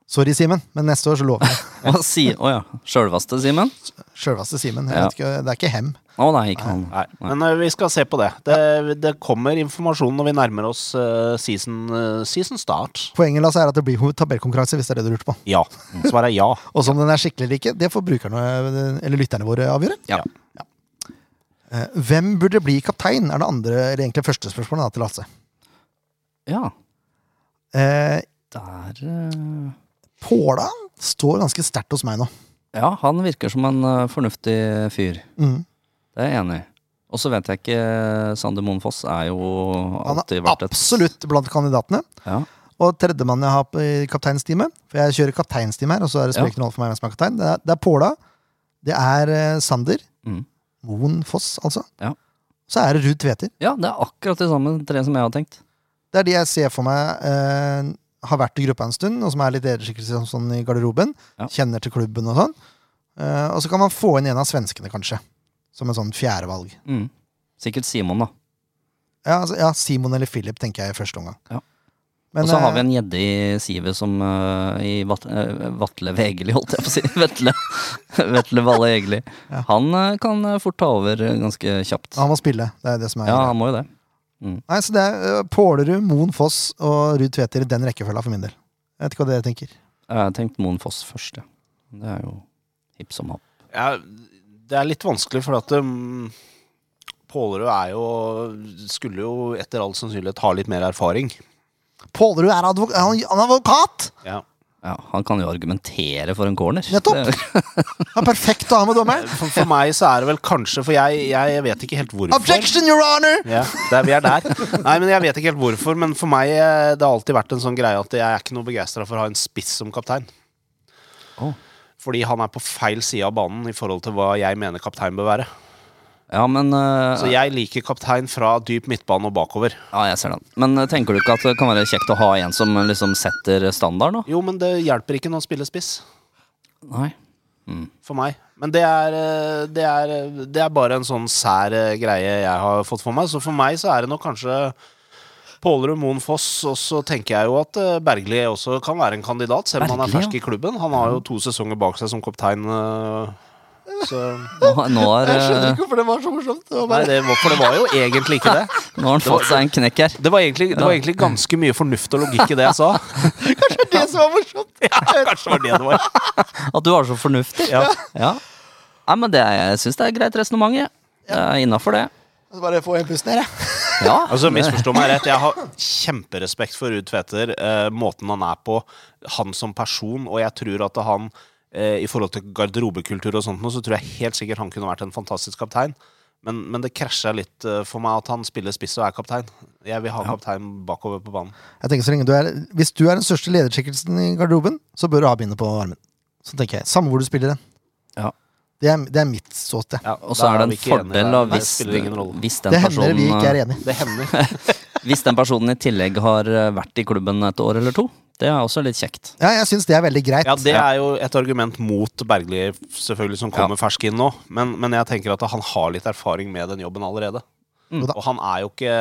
A: Sorry, Simen, men neste år så lover jeg.
C: eh, Hva sier Å ja. Sjølvaste, Simen?
A: Sjølveste Simen. Jeg
C: Ja.
A: vet ikke, Det er ikke hem.
C: Å nei, ikke han.
B: Nei, men eh, vi skal se på det. Det, det kommer informasjon når vi nærmer oss eh, season, eh, season start.
A: Poenget Lasse, er at det blir tabellkonkurranse, hvis det er det du lurte på.
B: Ja. Svaret er ja.
A: Og om den er skikkelig eller ikke, det får brukerne, eller lytterne våre avgjøre.
C: Ja.
A: Eh, Hvem burde bli kaptein, er det andre, eller egentlig første spørsmålet da, til Lasse.
C: Ja.
A: Eh,
C: Der eh,
A: Påla står ganske sterkt hos meg nå.
C: Ja, han virker som en eh, fornuftig fyr.
A: Mm.
C: Det er jeg enig i. Og så vet jeg ikke Sander Moen Foss er jo
A: Han
C: alltid
A: er
C: vært et
A: absolutt blant kandidatene.
C: Ja.
A: Og tredjemann jeg har på- i kapteinsteamet, for jeg kjører kapteinsteam her, og så er det
C: Ja.
A: sprekende rolle for meg hvem som er kaptein, det er, det er Påla, det er eh, Sander,
C: Mm.
A: Moen Foss, altså.
C: Ja.
A: Så er det Ruud Tveter.
C: ja, det er akkurat de samme tre som jeg har tenkt.
A: Det er de jeg ser for meg eh, har vært i gruppa en stund, og som er litt lederskikkelser sånn, sånn i garderoben.
C: Ja.
A: Kjenner til klubben og sånn. Eh, og så kan man få inn en av svenskene, kanskje. Som en sånn fjerdevalg.
C: Mm. Sikkert Simon, da.
A: Ja, altså, ja, Simon eller Philip, tenker jeg i første omgang.
C: Ja.
A: Men,
C: og så har vi
A: eh,
C: en gjedde i sivet som eh, i Vat eh, Vatle Vegeli, holdt jeg på å si. Vetle, Vetle Valle Egeli.
A: Ja.
C: Han eh, kan eh, fort ta over eh, ganske kjapt.
A: han må spille. Det er det som er
C: Ja, han må jo det.
A: Nei, så det er eh, Pålerud, Moen Foss og Ruud Tveter i den rekkefølga for min del. Jeg vet ikke hva dere tenker.
C: Jeg har tenkt Moen Foss først, ja. Det er jo hipp som happ.
B: ja. Det er litt vanskelig, for at um, Pålerud er jo Skulle jo etter all sannsynlighet ha litt mer erfaring.
A: Pålerud er advokat! Han, han er advokat!
B: Ja.
C: Ja, han kan jo argumentere for en corner.
A: Nettopp.
C: Det-
A: Han er perfekt å ha med dommeren!
B: For, for meg så er det vel kanskje For jeg, jeg vet ikke helt hvorfor.
A: Objection, your honor!
B: Ja, der, vi er der. Nei, men Jeg vet ikke helt hvorfor, men for meg eh, det har alltid vært en sånn greie at jeg er ikke noe begeistra for å ha en spiss som kaptein.
C: Å.
B: Fordi han er på feil side av banen i forhold til hva jeg mener kaptein bør være.
C: Ja, men eh,
B: Så jeg liker kaptein fra dyp midtbane og bakover.
C: Ja, jeg ser den. Men eh, tenker du ikke at det kan være kjekt å ha en som eh, liksom setter standarden, da?
B: Jo, men det hjelper ikke når han spiller spiss.
C: Nei.
B: For meg. Men det er, eh, det er, eh, det er bare en sånn sær eh, greie jeg har fått for meg. Så for meg så er det nok kanskje Pålerud, Moen Foss, og så tenker jeg jo at eh, Bergli også kan være en kandidat, selv om han er
C: Bergli, ja.
B: fersk i klubben. Han har jo to sesonger bak seg som kaptein. eh, Så
C: Nå, nå, har,
A: Jeg skjønner
C: eh,
A: ikke hvorfor det var så morsomt. Det var
B: Nei,
A: bare...
B: det var, for det var jo egentlig ikke det.
C: nå har han fått seg en knekk her.
B: Det var egentlig, det var egentlig ganske mye fornuft og logikk i det jeg sa.
A: Kanskje det er det som var morsomt!
B: Kanskje det var det det var.
C: At du var så fornuftig.
B: Ja.
C: Ja. Nei, men det, er- jeg syns det er greit resonnement, jeg. Det er innafor det.
A: Så bare få en pust ned, jeg.
C: Ja.
B: Altså, Misforstå meg rett, jeg har kjemperespekt for Ruud Tveter. Eh, måten han er på, han som person, og jeg tror at han eh, I forhold til garderobekultur og sånt, noe, så tror jeg helt sikkert han kunne vært en fantastisk kaptein. Men, men det krasja litt eh, for meg at han spiller spiss og er kaptein. Jeg vil ha kaptein bakover på banen.
A: Jeg tenker så lenge du er Hvis du er den største lederskikkelsen i garderoben, så bør du ha bindet på armen. Så tenker jeg. Samme hvor du spiller den.
C: Ja.
A: Det er, det er mitt ståsted.
B: Ja,
C: Og så
B: da
C: er det
B: vi
C: en
B: ikke enige
C: fordel
B: der.
C: av
B: Det
C: hvis,
B: spiller ingen rolle.
C: hvis, den
A: Det hender vi ikke
C: personen,
A: er enig.
B: Det hender.
C: eh, hvis den personen i tillegg har eh, vært i klubben et år eller to. Det er også litt kjekt.
A: Ja, jeg syns det er veldig greit.
B: Ja, det er jo et argument mot Bergli, selvfølgelig, som kommer fersk inn nå. Men, men jeg tenker at han har litt erfaring med den jobben allerede.
C: Mm.
B: Og han er jo ikke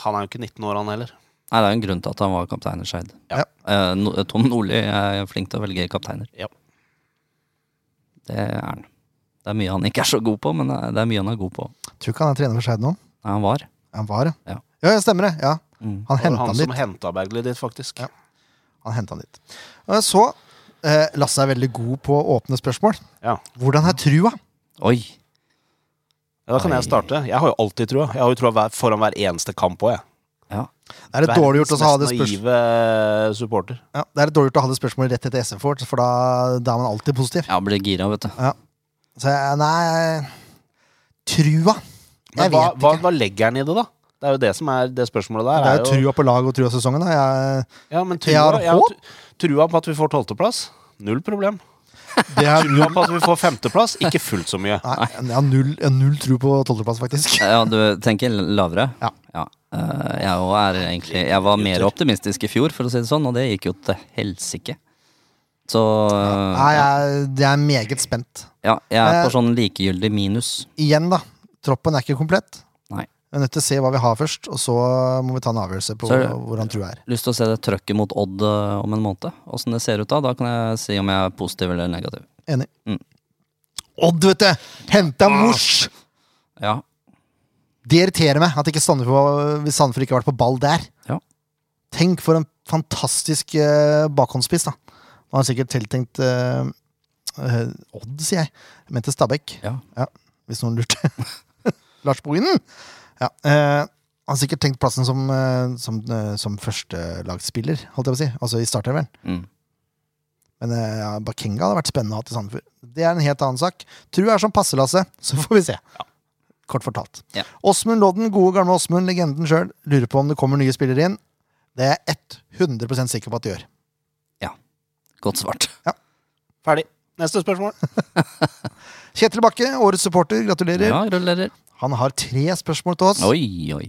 B: Han er jo ikke 19 år, han heller.
C: Nei, Det er jo en grunn til at han var kaptein i Skeid.
A: Ja.
C: Eh, no- Tom Nordli er flink til å velge kapteiner.
B: Ja.
C: Det er han. Det er mye han ikke er så god på, men det er- det er mye han er god på.
A: Tror ikke han er trener for Skeid nå.
C: Nei, han var.
A: Han var,
C: Ja.
A: ja. Ja, ja stemmer det. Ja. Han
C: Mm.
B: Det var
A: henta
B: han
A: han dit.
B: som henta Bergli dit, faktisk.
A: Ja. Han hentet han dit. Og Så eh, Lasse er veldig god på åpne spørsmål.
B: Ja.
A: Hvordan er trua?
C: Oi!
B: Ja, Da kan
C: Oi.
B: jeg starte. Jeg har jo alltid trua. Jeg har jo trua hver, foran hver eneste kamp òg, jeg.
C: Ja.
A: Det er litt dårlig gjort å ha det spørsmålet
B: naive eh, supporter.
A: ja, Det er litt dårlig gjort å ha det spørsmålet rett etter SM Ford, for da, da er man alltid positiv.
C: ja, blir gira, vet du.
A: Så jeg, nei jeg- Trua. Jeg
B: Men hva,
A: vet
B: hva,
A: ikke.
B: hva legger han i det, da? Det er jo det som er det spørsmålet der.
A: Det er jo
B: er jo,
A: trua på lag og trua sesongen. Da. Jeg,
B: ja, men
A: Jeg har
B: trua, jeg har tru- trua på at vi får tolvteplass. Null problem.
A: det er
B: Trua på at vi får femteplass. Ikke fullt så mye.
A: Nei, jeg har null, jeg har null tro på tolvteplass, faktisk.
C: Ja, du tenker lavere?
A: Ja.
C: Eh, Jeg, også er egentlig, jeg var mer optimistisk i fjor, for å si det sånn, og det gikk jo til helsike. Så eh,
A: Nei, jeg, jeg er meget spent.
C: ja, jeg er
A: Eh,
C: på sånn likegyldig minus.
A: Igjen, da. Troppen er ikke komplett.
C: Nei.
A: Vi er nødt til å se hva vi har først, og så må vi ta en avgjørelse på
C: Så er det-
A: hvordan trua er.
C: Lyst til å se det trøkket mot Odd eh, om en måned. Åssen det ser ut da. Da kan jeg si om jeg er positiv eller negativ.
A: Enig.
C: Mm.
A: Odd, vet du! Henta
B: Ah,
A: mors!
C: Ja,
A: Det irriterer meg at ikke Sandefjord, var- hvis Sandefjord ikke har vært på ball der.
C: Ja.
A: Tenk for en fantastisk eh, bakhåndsspiss, da. Han har sikkert tiltenkt eh, eh, Odd, sier jeg. Jeg mente Stabæk.
C: Ja.
A: hvis noen lurte. Lars Bohinen! Ja, eh, han har sikkert tenkt plassen som, eh, som, eh, som førstelagsspiller, holdt jeg på å si. Altså i starterveren.
C: Mm.
A: Men eh, ja, Bakenga hadde vært spennende å ha til Sandefjord. Det er en helt annen sak. Tru er som passelasse, så får vi se. Kort fortalt.
C: Ja.
A: Åsmund Lodden, gode gamle Åsmund, legenden sjøl, lurer på om det kommer nye spillere inn. Det er jeg 100 sikker på at det gjør.
C: godt svart.
B: Ferdig. Neste spørsmål.
A: Kjetil Bakke, årets supporter, gratulerer.
C: Ja, gratulerer.
A: Han har tre spørsmål til oss.
C: Oi, oi.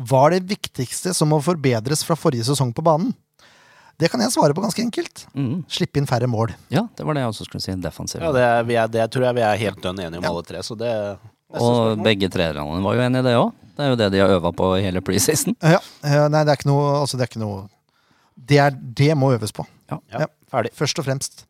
A: Hva er det viktigste som må forbedres fra forrige sesong på banen? Det kan jeg svare på ganske enkelt.
C: Mm.
A: Slippe inn færre mål.
C: Ja, det var det jeg også skulle si. Defensiv.
B: Ja, det, er, vi er, det tror jeg vi er helt dønn enige om alle tre. Så det neste
C: og
B: spørsmål.
C: begge trenerne var jo enig i det òg. Det er jo det de har øva på i hele preseason.
A: Ja, eh, nei, det er ikke noe, altså, det, er ikke noe det, er, det må øves på, ja.
B: ja, ferdig.
A: først og fremst.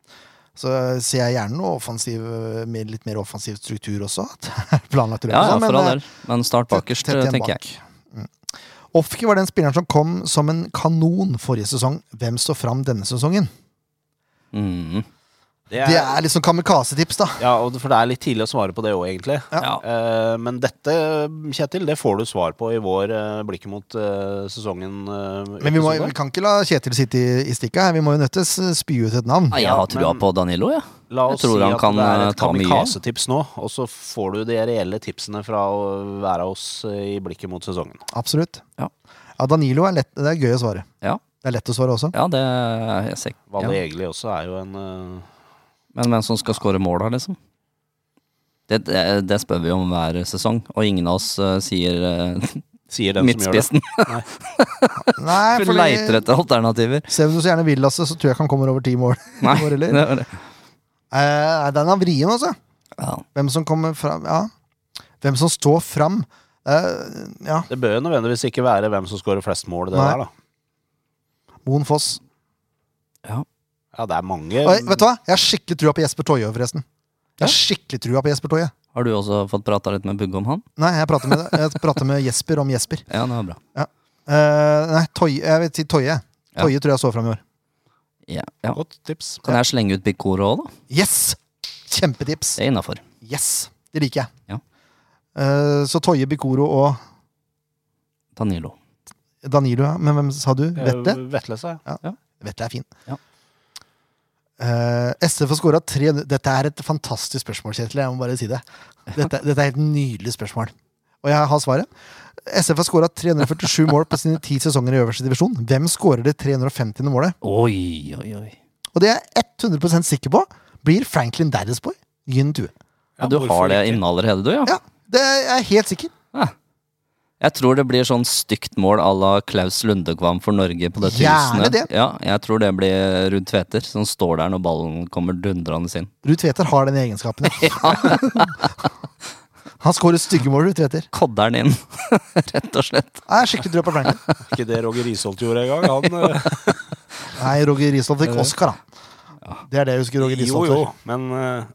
A: Så ser jeg gjerne noe offensiv, eh, med litt mer offensiv struktur også. At det er planlagt rundt
C: Ja, ja,
A: og sånn,
C: for all
A: eh,
C: del. Men start bakerst,
A: tett igjen
C: tenker jeg.
A: bak. Mm. Ofke var den spilleren som kom som en kanon forrige sesong. Hvem står fram denne sesongen?
C: Mm.
B: Det
A: Det er litt sånn kamikaze-tips, da.
B: ja, og det- for det er litt tidlig å svare på det òg, egentlig.
C: Ja.
B: Eh, men dette, Kjetil, det får du svar på i vår eh, blikket mot eh, sesongen. eh,
A: Men vi, må,
B: episode.
A: vi kan ikke la Kjetil sitte i, i stikka her. Vi må jo nøttes eh, spy ut et navn.
C: Nei, jeg har trua
B: men-
C: på Danilo, jeg. Ja.
B: La
C: Jeg
B: oss
C: tror
B: si
C: han
B: at
C: kan,
B: det er
C: eh,
B: et
C: ta mye.
B: kamikazetips nå, og så får du de reelle tipsene fra å være oss eh, i blikket mot sesongen.
A: Absolutt.
C: Ja.
A: Ja, Danilo er lett. Det er gøy å svare.
C: Ja,
A: Det er lett å svare også.
C: ja det er jeg sikker
B: Valle
C: ja.
B: Egli også er jo en eh,
C: Men hvem som skal skåre mål, da, liksom? Det, det, det spør vi om hver sesong, og ingen av oss eh, sier eh,
B: Sier den som gjør det.
C: midtspissen.
A: Nei,
C: Vi leiter
A: fordi
C: etter alternativer.
A: Ser du så gjerne vil, Lasse, så tror jeg ikke han kommer over ti mål.
C: Nei,
A: Går
C: det
A: heller.
C: var det.
A: Eh, den er vrien, altså.
C: Ja.
A: Hvem som kommer fram Ja. Hvem som står fram. Eh, ja,
B: Det bør jo nødvendigvis ikke være hvem som scorer flest mål, det
A: Nei.
B: der, da.
A: Moen Foss.
B: Ja, det er mange
A: Oi, vet du hva? Jeg har skikkelig trua på Jesper Toje, forresten. Jeg har skikkelig trua på Jesper Toje.
C: Har du også fått prata litt med Bugge om han?
A: Nei, jeg prater med, jeg prater med Jesper om Jesper.
C: Ja, det var bra.
A: Eh, nei, Toje. Jeg vil si Toje.
C: Ja.
A: Toje tror jeg står fram i år.
C: Ja, ja.
B: Godt tips.
C: Kan jeg slenge ut Bikoro òg, da?
A: Yes! Kjempetips.
C: Det er innafor.
A: Yes! Det liker jeg.
C: Ja.
A: Eh, så Toje, Bikoro og
C: Danilo.
A: Danilo, ja. Men hvem sa du? Vetle?
B: Eh, Vetle, sa jeg.
A: Vetle er fin.
C: Ja.
A: Eh, SF har skåra tre Dette er et fantastisk spørsmål, Kjetil. Jeg må bare si det. Dette, dette er et nydelig spørsmål. Og jeg har svaret. SF har skåra 347 mål på sine ti sesonger i øverste divisjon. Hvem skårer det 350. målet?
C: Oi, oi, oi.
A: Og det er jeg 100 sikker på blir Franklin Derrisboy. Gyn Due.
C: Ja, du har det inne allerede, du, ja?
A: Ja, det er jeg er helt sikker.
C: Ja. Jeg tror det blir sånn stygt mål à la Klaus Lundekvam for Norge på det
A: Gjerne
C: tusende.
A: det.
C: Ja, jeg tror det blir Ruud Tveter som står der når ballen kommer dundrende inn.
A: Ruud Tveter har den egenskapen. ja. Han skårer stygge mål, Ruud Tveter.
C: Kodder den inn, rett og slett.
A: Jeg er skikkelig trua på Franklin.
B: Ikke det Roger Risholt gjorde en gang. Han, eh,
A: Nei, Roger Risholt fikk Oscar, han. Det er det jeg husker Roger
B: jo,
A: Risholt
B: jo,
A: for.
B: men eh,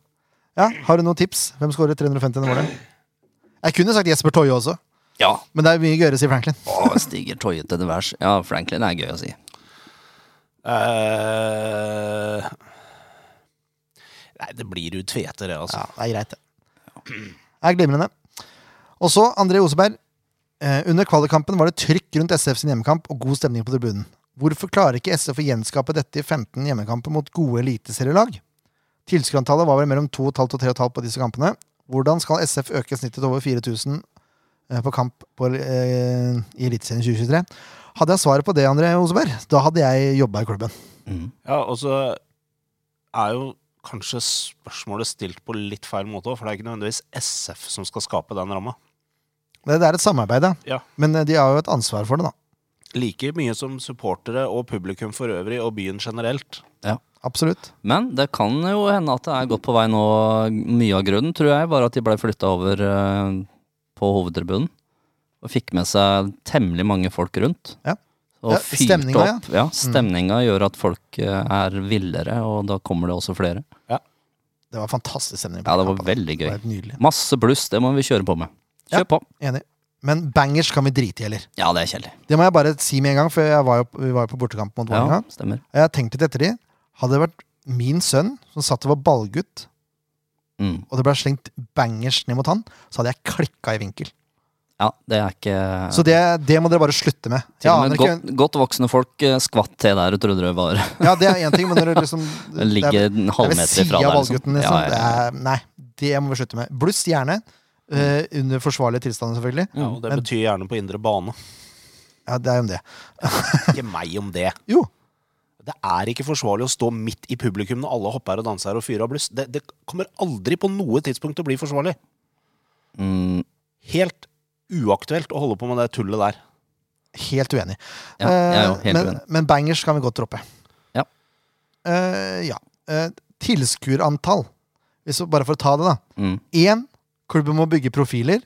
A: Ja, har du noen tips? Hvem skårer 350. målet? Jeg kunne sagt Jesper Toje også,
C: Ja.
A: men det er mye gøyere, sier Franklin.
C: Å, stiger Toye til det værs. Ja, Franklin er gøy å si.
B: eh, Nei, det blir Ruud Tveter, det, altså.
A: Ja, det er greit, det. Det er glimrende. Og så André Oseberg. Eh, under kvalikkampen var det trykk rundt SF sin hjemmekamp og god stemning på tribunen. Hvorfor klarer ikke SF å gjenskape dette i 15 hjemmekamper mot gode eliteserielag? Tilskuerantallet var vel mellom 2,5 og 3,5 på disse kampene. Hvordan skal SF øke snittet over 4000 eh, på kamp på, eh, i Eliteserien 2023? Hadde jeg svaret på det, André Oseberg, da hadde jeg jobba i klubben.
B: Ja, og så er jo kanskje spørsmålet stilt på litt feil måte òg, for det er ikke nødvendigvis SF som skal skape den ramma.
A: Det, det er et samarbeid,
B: Ja.
A: men eh, de har jo et ansvar for det, da.
B: Like mye som supportere og publikum for øvrig, og byen generelt.
A: Absolutt.
C: Men det kan jo hende at det er godt på vei nå. Mye av grunnen, tror jeg, var at de blei flytta over eh, på hovedtribunen. Og fikk med seg temmelig mange folk rundt.
A: Ja.
C: Og
A: Ja,
C: fyrte
A: stemninga, ja. Mm.
C: opp. Ja, stemninga gjør at folk eh, er villere, og da kommer det også flere.
A: Det var fantastisk stemning. på
C: Ja, det
A: den
C: var
A: kampen.
C: veldig
A: Det
C: gøy.
A: var helt nydelig.
C: Masse bluss, det må vi kjøre på med. Kjør på.
A: Enig. Men bangers kan vi drite i, eller?
C: Ja, det er kjedelig.
A: Det må jeg bare si med en gang, for jeg var jo, vi var jo på bortekamp mot
C: Ja,
A: Vålerenga.
C: stemmer.
A: Og Jeg har tenkt litt etter de. Hadde det vært min sønn som satt og var ballgutt,
C: Mm.
A: og det ble slengt bangers ned mot han, så hadde jeg klikka i vinkel.
C: Ja, det er ikke
A: Så det, det må dere bare slutte med.
C: Til
A: Jeg
C: og
A: aner
C: med
A: ikke,
C: godt, godt voksne folk eh, skvatt til der og trodde det var
A: ja, det er én ting, men når du liksom det er-
C: ligger en
A: det er ved
C: halvmeter
A: siden
C: ifra
A: av
C: der.
A: ballgutten, liksom.
C: Ja, ja,
A: Det er, nei, det må vi slutte med. Bluss gjerne. eh, under forsvarlige tilstander, selvfølgelig.
B: Ja, og det
A: Men-
B: betyr gjerne på indre bane.
A: Ja, Det er jo om det.
B: Ikke meg om det.
A: Jo,
B: Det er ikke forsvarlig å stå midt i publikum når alle hopper og danser og fyrer av bluss. Det, det kommer aldri på noe tidspunkt til å bli forsvarlig.
C: ja. Mm,
B: Helt uaktuelt å holde på med det tullet der.
A: helt uenig.
C: ja, jeg er jo
A: Eh,
C: helt
A: men,
C: uenig.
A: men bangers kan vi godt droppe.
C: Ja.
A: Eh, ja. Eh, tilskuerantall, Hvis vi- bare for å ta det, da.
C: Mm.
A: Én, klubben må bygge profiler.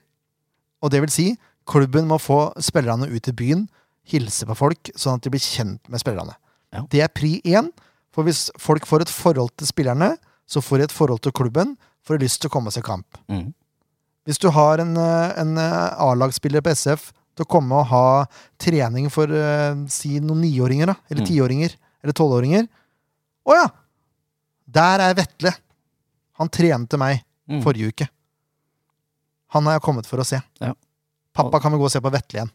A: Og det vil si, klubben må få spillerne ut i byen, hilse på folk, sånn at de blir kjent med spillerne.
C: Ja.
A: Det er pri én. For hvis folk får et forhold til spillerne, så får de et forhold til klubben, får de lyst til å komme seg i kamp.
C: Mm.
A: Hvis du har en, eh, en eh, A-lagsspiller på SF til å komme og ha trening for eh, si noen niåringer, da, eller
C: Mm.
A: tiåringer, eller tolvåringer Å ja! Der er Vetle. Han trente meg
C: Mm.
A: forrige uke. Han har jeg kommet for å se.
C: Ja.
A: Pappa kan vi gå og se på Vetle igjen.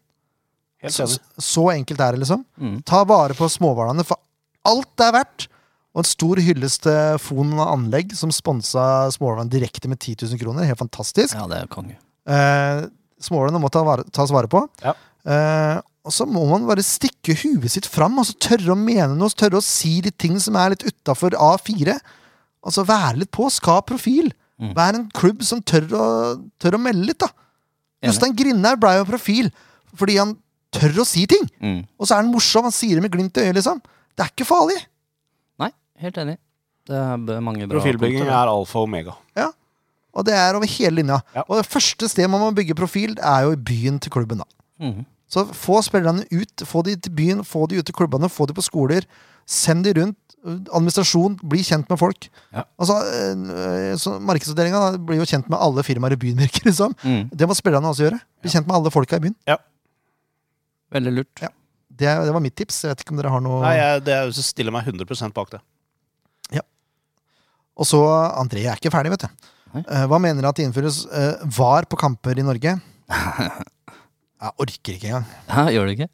B: Helt
A: Så,
B: enig.
A: så enkelt er det, liksom.
C: Mm.
A: Ta vare på småhvalene for alt det er verdt. Og en stor hyllest til Fon anlegg, som sponsa småhvalene direkte med 10 000 kroner. Helt fantastisk.
C: Ja, det er konge.
A: Eh, Smålene må ta vare, tas vare på.
B: Ja.
A: Eh, og så må man bare stikke huet sitt fram og så tørre å mene noe, så tørre å si litt ting som er litt utafor A4. Og så være litt på. Skap profil.
C: Mm.
A: Vær en klubb som tør å, tør å melde litt, da.
C: Enig.
A: Jostein Grindhaug blei jo profil fordi han tør å si ting.
C: Mm.
A: Og så er han morsom. Han sier det med glimt i øyet, liksom. Det er ikke farlig.
C: Nei, helt enig. Det er b- mange bra
B: Profilbygging
C: punkter.
B: er alfa og omega.
A: Og det er over hele linja.
B: Ja.
A: Og det første stedet man må bygge profil, det er jo i byen til klubben, da.
C: Mm.
A: Så få spillerne ut, få de til byen, få de ut til klubbene, få de på skoler. Send de rundt. Administrasjon, bli kjent med folk.
C: Ja.
A: Altså, øh, så Markedsavdelinga da, blir jo kjent med alle firmaer i byen, virker det som.
C: Mm.
A: Det må spillerne også gjøre. Bli kjent med alle folka i byen.
C: Veldig lurt.
A: Ja. Det, er- det var mitt tips. Jeg vet ikke om dere har noe
B: Nei, jeg, det er jo så stiller meg 100 bak det.
A: Og så, André er ikke ferdig, vet du.
C: Nei.
A: Eh, hva mener du at det innføres eh, var på kamper i Norge? Jeg orker ikke engang.
C: Ja, gjør det ikke?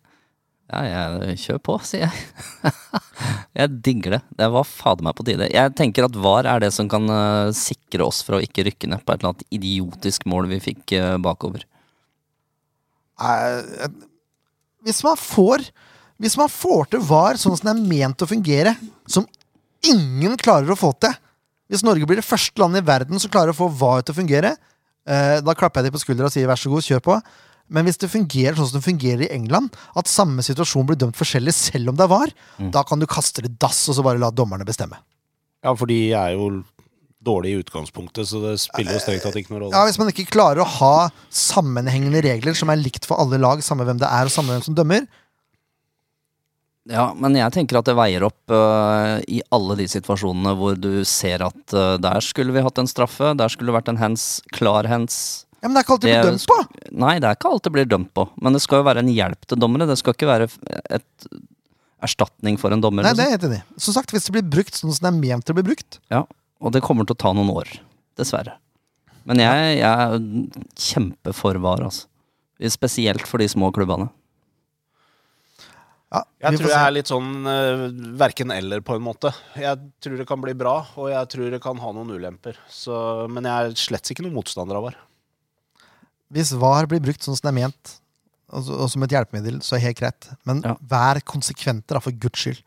C: Ja, jeg kjør på, sier jeg. jeg digger det. Det var fader meg på tide. Jeg tenker at VAR er det som kan eh, sikre oss fra å ikke rykke ned på et eller annet idiotisk mål vi fikk eh, bakover.
A: Nei, eh, Hvis man får Hvis man får til VAR sånn som det er ment å fungere, som ingen klarer å få til Hvis Norge blir det første landet i verden som klarer å få VAR til å fungere, eh, da klapper jeg dem på skuldra og sier vær så god, kjør på. Men hvis det fungerer sånn som det fungerer i England, at samme situasjon blir dømt forskjellig selv om det er VAR,
C: Mm.
A: da kan du kaste det i dass og så bare la dommerne bestemme.
B: Ja, for de er jo dårlige i utgangspunktet, så det spiller jo strengt tatt ikke noen
A: Ja,
B: rolle.
A: Hvis man ikke klarer å ha sammenhengende regler som er likt for alle lag, samme hvem det er og samme hvem som dømmer,
C: Ja, men jeg tenker at det veier opp øh, i alle de situasjonene hvor du ser at øh, der skulle vi hatt en straffe, der skulle det vært en hands, klar hands.
A: ja, men det er ikke alltid
C: Det
A: blitt
C: er-
A: dømt på!
C: Nei, det er ikke alt det blir dømt på, men det skal jo være en hjelp til dommere. Det skal ikke være f- et erstatning for en dommer.
A: Nei, det
C: liksom.
A: er jeg helt enig. i. Som sagt, hvis det blir brukt sånn som det er ment til å bli brukt
C: Ja, og det kommer til å ta noen år, dessverre. Men jeg, jeg er kjempeforvar, altså. Spesielt for de små klubbene.
A: Ja, vi
B: Jeg
A: får
B: tror
A: se.
B: jeg er litt sånn uh, verken eller, på en måte. Jeg tror det kan bli bra, og jeg tror det kan ha noen ulemper. Så, men jeg er slett ikke noen motstander av VAR.
A: Hvis VAR blir brukt sånn som det er ment, og, og som et hjelpemiddel, så er det helt greit. Men
C: Ja.
A: vær konsekvente, da, for guds skyld.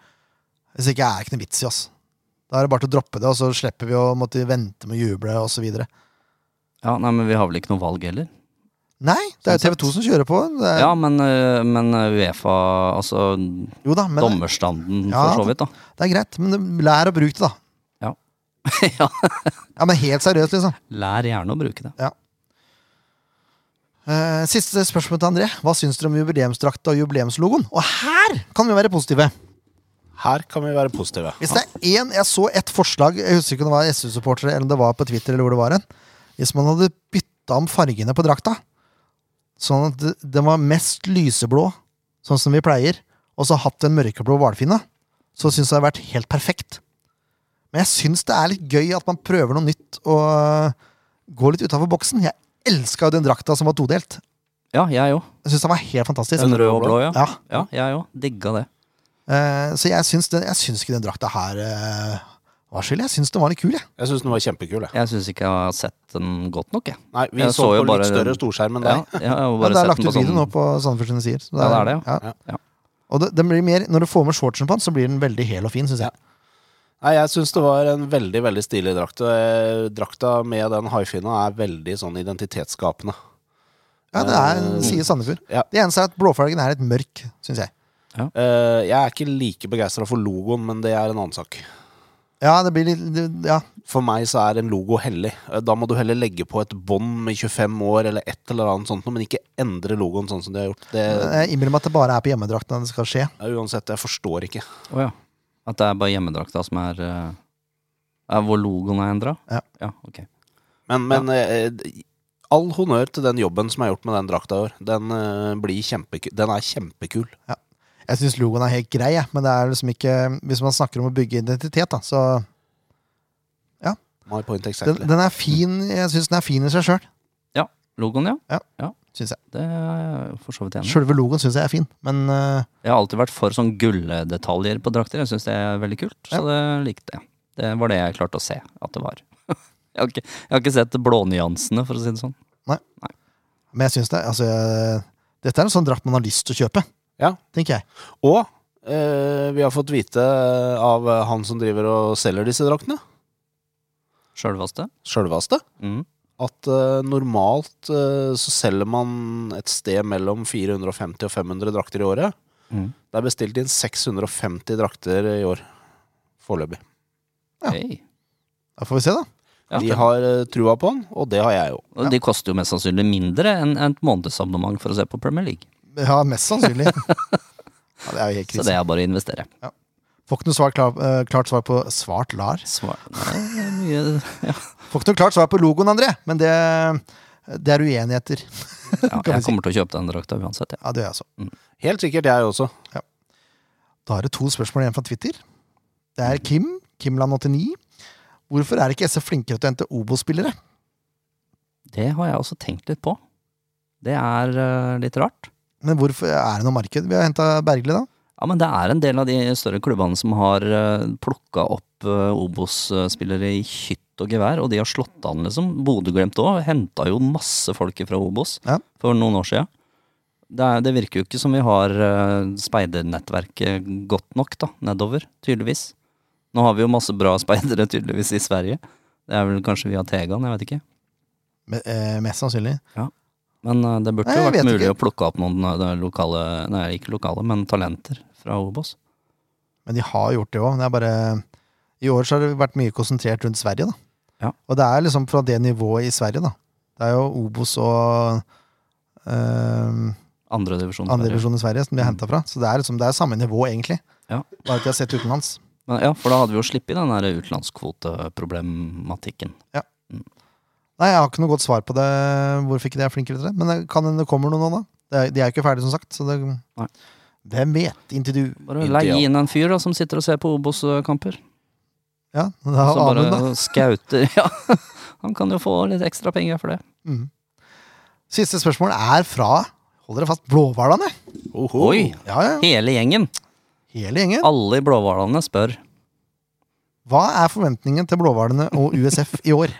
A: Hvis ikke er det ikke noe vits i oss. Da er det bare til å droppe det, og så slipper vi å måtte vente med å juble osv.
C: Ja, nei, men vi har vel ikke noe valg heller.
A: Nei, det er jo
C: Sånn
A: TV2 som kjører på. Det er,
C: Ja, men, øh, men øh, Uefa, altså
A: Jo da, men det,
C: dommerstanden
A: Ja,
C: for så vidt, da.
A: det er greit. Men det- lær å bruke det, da.
C: Ja. ja.
A: Ja, Men helt seriøst, liksom.
C: Lær gjerne å bruke det.
A: Eh, siste spørsmål til André. Hva syns dere om jubileumsdrakta og jubileumslogoen? Og her kan vi være positive.
B: Her kan vi være positive.
A: Hvis det er én Jeg så et forslag, jeg husker ikke om det var SU-supportere eller om det var på Twitter. eller hvor det var en. Hvis man hadde bytta om fargene på drakta, sånn at det- den var mest lyseblå, sånn som vi pleier, og så hatt en mørkeblå hvalfinne, så syns jeg det hadde vært helt perfekt. Men jeg syns det er litt gøy at man prøver noe nytt og øh, går litt utafor boksen. Jeg elska jo den drakta som var todelt.
C: Ja, jeg òg.
A: Jeg syns den var helt fantastisk.
C: Den røde og blå, ja.
A: Ja.
C: Ja, jeg òg. Digga det.
A: Eh, så jeg syns, den, jeg syns ikke den drakta her eh, var skyld. Jeg syns den var litt kul, jeg.
B: Jeg syns den var kjempekul. Jeg.
C: Jeg syns ikke jeg har sett den godt nok, jeg.
B: Nei, vi
C: Jeg
B: så,
C: så jo
B: på
C: bare-
B: litt større storskjerm enn
C: Ja,
B: deg.
C: jeg har
A: Ja,
C: bare
A: det er
C: sett
A: lagt
C: den
A: ut
C: på sånn
A: video nå på Sandefjord sine sider. så
C: Ja, det er det,
A: ja.
C: Ja.
A: Og det, den blir mer, når du får med shortsen på den, så blir den veldig hel og fin, syns jeg.
B: Nei, jeg syns det var en veldig veldig stilig drakt. og, eh, Drakta med den haifinna er veldig sånn identitetsskapende.
A: Ja, det er,
C: Eh,
A: sier Sandefjord.
B: Ja.
A: Det eneste er at blåfargen er litt mørk, syns jeg.
B: Eh, jeg er ikke like begeistra for logoen, men det er en annen sak.
A: Ja, det blir litt det- Ja,
B: For meg så er en logo hellig. Eh, Da må du heller legge på et bånd med 25 år eller et eller annet sånt, noe, men ikke endre logoen sånn som de har gjort. Det,
A: jeg innrømmer at det bare er på hjemmedrakten det skal skje.
B: ja, uansett, jeg forstår ikke.
C: Å ja. At det er bare hjemmedrakta som er eh, er Hvor logoen er endra?
A: Ja.
C: ja. Ok.
B: Men, men eh, d- all honnør til den jobben som er gjort med den drakta i år. Den, eh, blir kjempekul. den er kjempekul.
A: Jeg syns logoen er helt grei, jeg, men det er liksom ikke Hvis man snakker om å bygge identitet, da, så
B: My point
A: Den,
B: exactly.
A: den er fin. Jeg syns den er fin i seg sjøl,
C: Logoen, ja.
A: syns jeg.
C: Det er jeg for så vidt enig i.
A: Sjølve logoen syns jeg er fin, men eh,
C: Jeg har alltid vært for sånn gulldetaljer på drakter. Jeg syns det er veldig kult, så det likte jeg. Det var det jeg klarte å se at det var. jeg, har ikke, jeg har ikke sett blånyansene, for å si det sånn.
A: Men jeg syns det altså, jeg- Dette er en sånn drakt man har lyst til å kjøpe,
B: Ja.
A: tenker jeg.
B: Og eh, vi har fått vite av eh, han som driver og selger disse draktene,
C: Sjølvaste.
B: sjølveste,
C: Mm.
B: at eh, normalt eh, så selger man et sted mellom 450 og 500 drakter i året.
C: Mm.
B: Det er bestilt inn 650 drakter i år. Foreløpig.
A: Ja.
C: Hey.
A: Da får vi se, da.
C: Ja.
B: De har eh, trua på den, og det har jeg jo.
C: Og de koster jo mest sannsynlig mindre enn et månedsabonnement for å se på Premier League.
A: Ja, mest sannsynlig. ja, det er jo helt
C: Så
A: krise.
C: det er bare å investere.
A: Får ikke noe svar, klar, eh, klart svar på Svart lar.
C: Svar. Nei, det er mye- ja.
A: Får ikke noe klart svar på logoen, André, men det, det er uenigheter.
C: Ja,
A: Kan vi
C: jeg
A: si.
C: kommer til å kjøpe den drakta uansett. Ja.
A: Ja, det gjør jeg også.
B: Helt sikkert jeg også.
A: Da er det to spørsmål igjen fra Twitter. Det er Kim, Kimland89. Hvorfor er ikke SF flinkere til å hente Obo-spillere?
C: Det har jeg også tenkt litt på. Det er eh, litt rart.
A: Men hvorfor er det noe marked? Vi har henta Bergli, da.
C: Ja, men det er en del av de større klubbene som har uh, plukka opp eh, Obos-spillere i hytt og gevær, og de har slått an, liksom. Bodø-Glimt òg henta jo masse folk fra Obos
A: Ja.
C: for noen år sia. Det, er, det virker jo ikke som vi har eh, speidernettverket godt nok, da, nedover, tydeligvis. Nå har vi jo masse bra speidere, tydeligvis, i Sverige. Det er vel kanskje via Tegan, jeg vet ikke.
A: Me- eh, mest sannsynlig.
C: Men eh, det burde
A: Nei,
C: jo
A: jeg
C: vært
A: vet
C: mulig
A: ikke.
C: å plukke opp noen eh, lokale, nei ikke lokale, men talenter fra Obos.
A: Men de har gjort det òg. Det er bare I år så har det vært mye konsentrert rundt Sverige, da.
C: Ja.
A: Og det er liksom fra det nivået i Sverige, da. Det er jo Obos og eh,
C: Andredivisjon.
A: andredivisjon i Sverige som de har henta fra. Så det er, liksom, det er samme nivå, egentlig.
C: Mm. Ja.
A: Bare at de har sett utenlands.
C: Men, ja, for da hadde vi jo sluppet den der utenlandskvoteproblematikken.
A: Nei, jeg har ikke noe godt svar på det. Hvorfor ikke de er flinkere til det? Men det kan hende det kommer noe nå, da. Det er, de er jo ikke ferdige, som sagt. Så det,
C: Nei.
A: hvem vet? Inntil du
C: Bare
B: Inntil,
C: leie
B: ja.
C: inn en fyr da som sitter og ser på Obos-kamper.
A: Ja, da
C: Som
A: har Amund, da.
C: bare skauter. Ja, han kan jo få litt ekstra penger for det.
A: Mm. Siste spørsmål er fra Hold dere fast. Blåhvalene. Oh.
B: Oho.
C: Oi!
A: Ja, ja.
C: Hele gjengen.
A: Hele gjengen.
C: Alle i blåhvalene spør.
A: Hva er forventningen til blåhvalene og USF i år?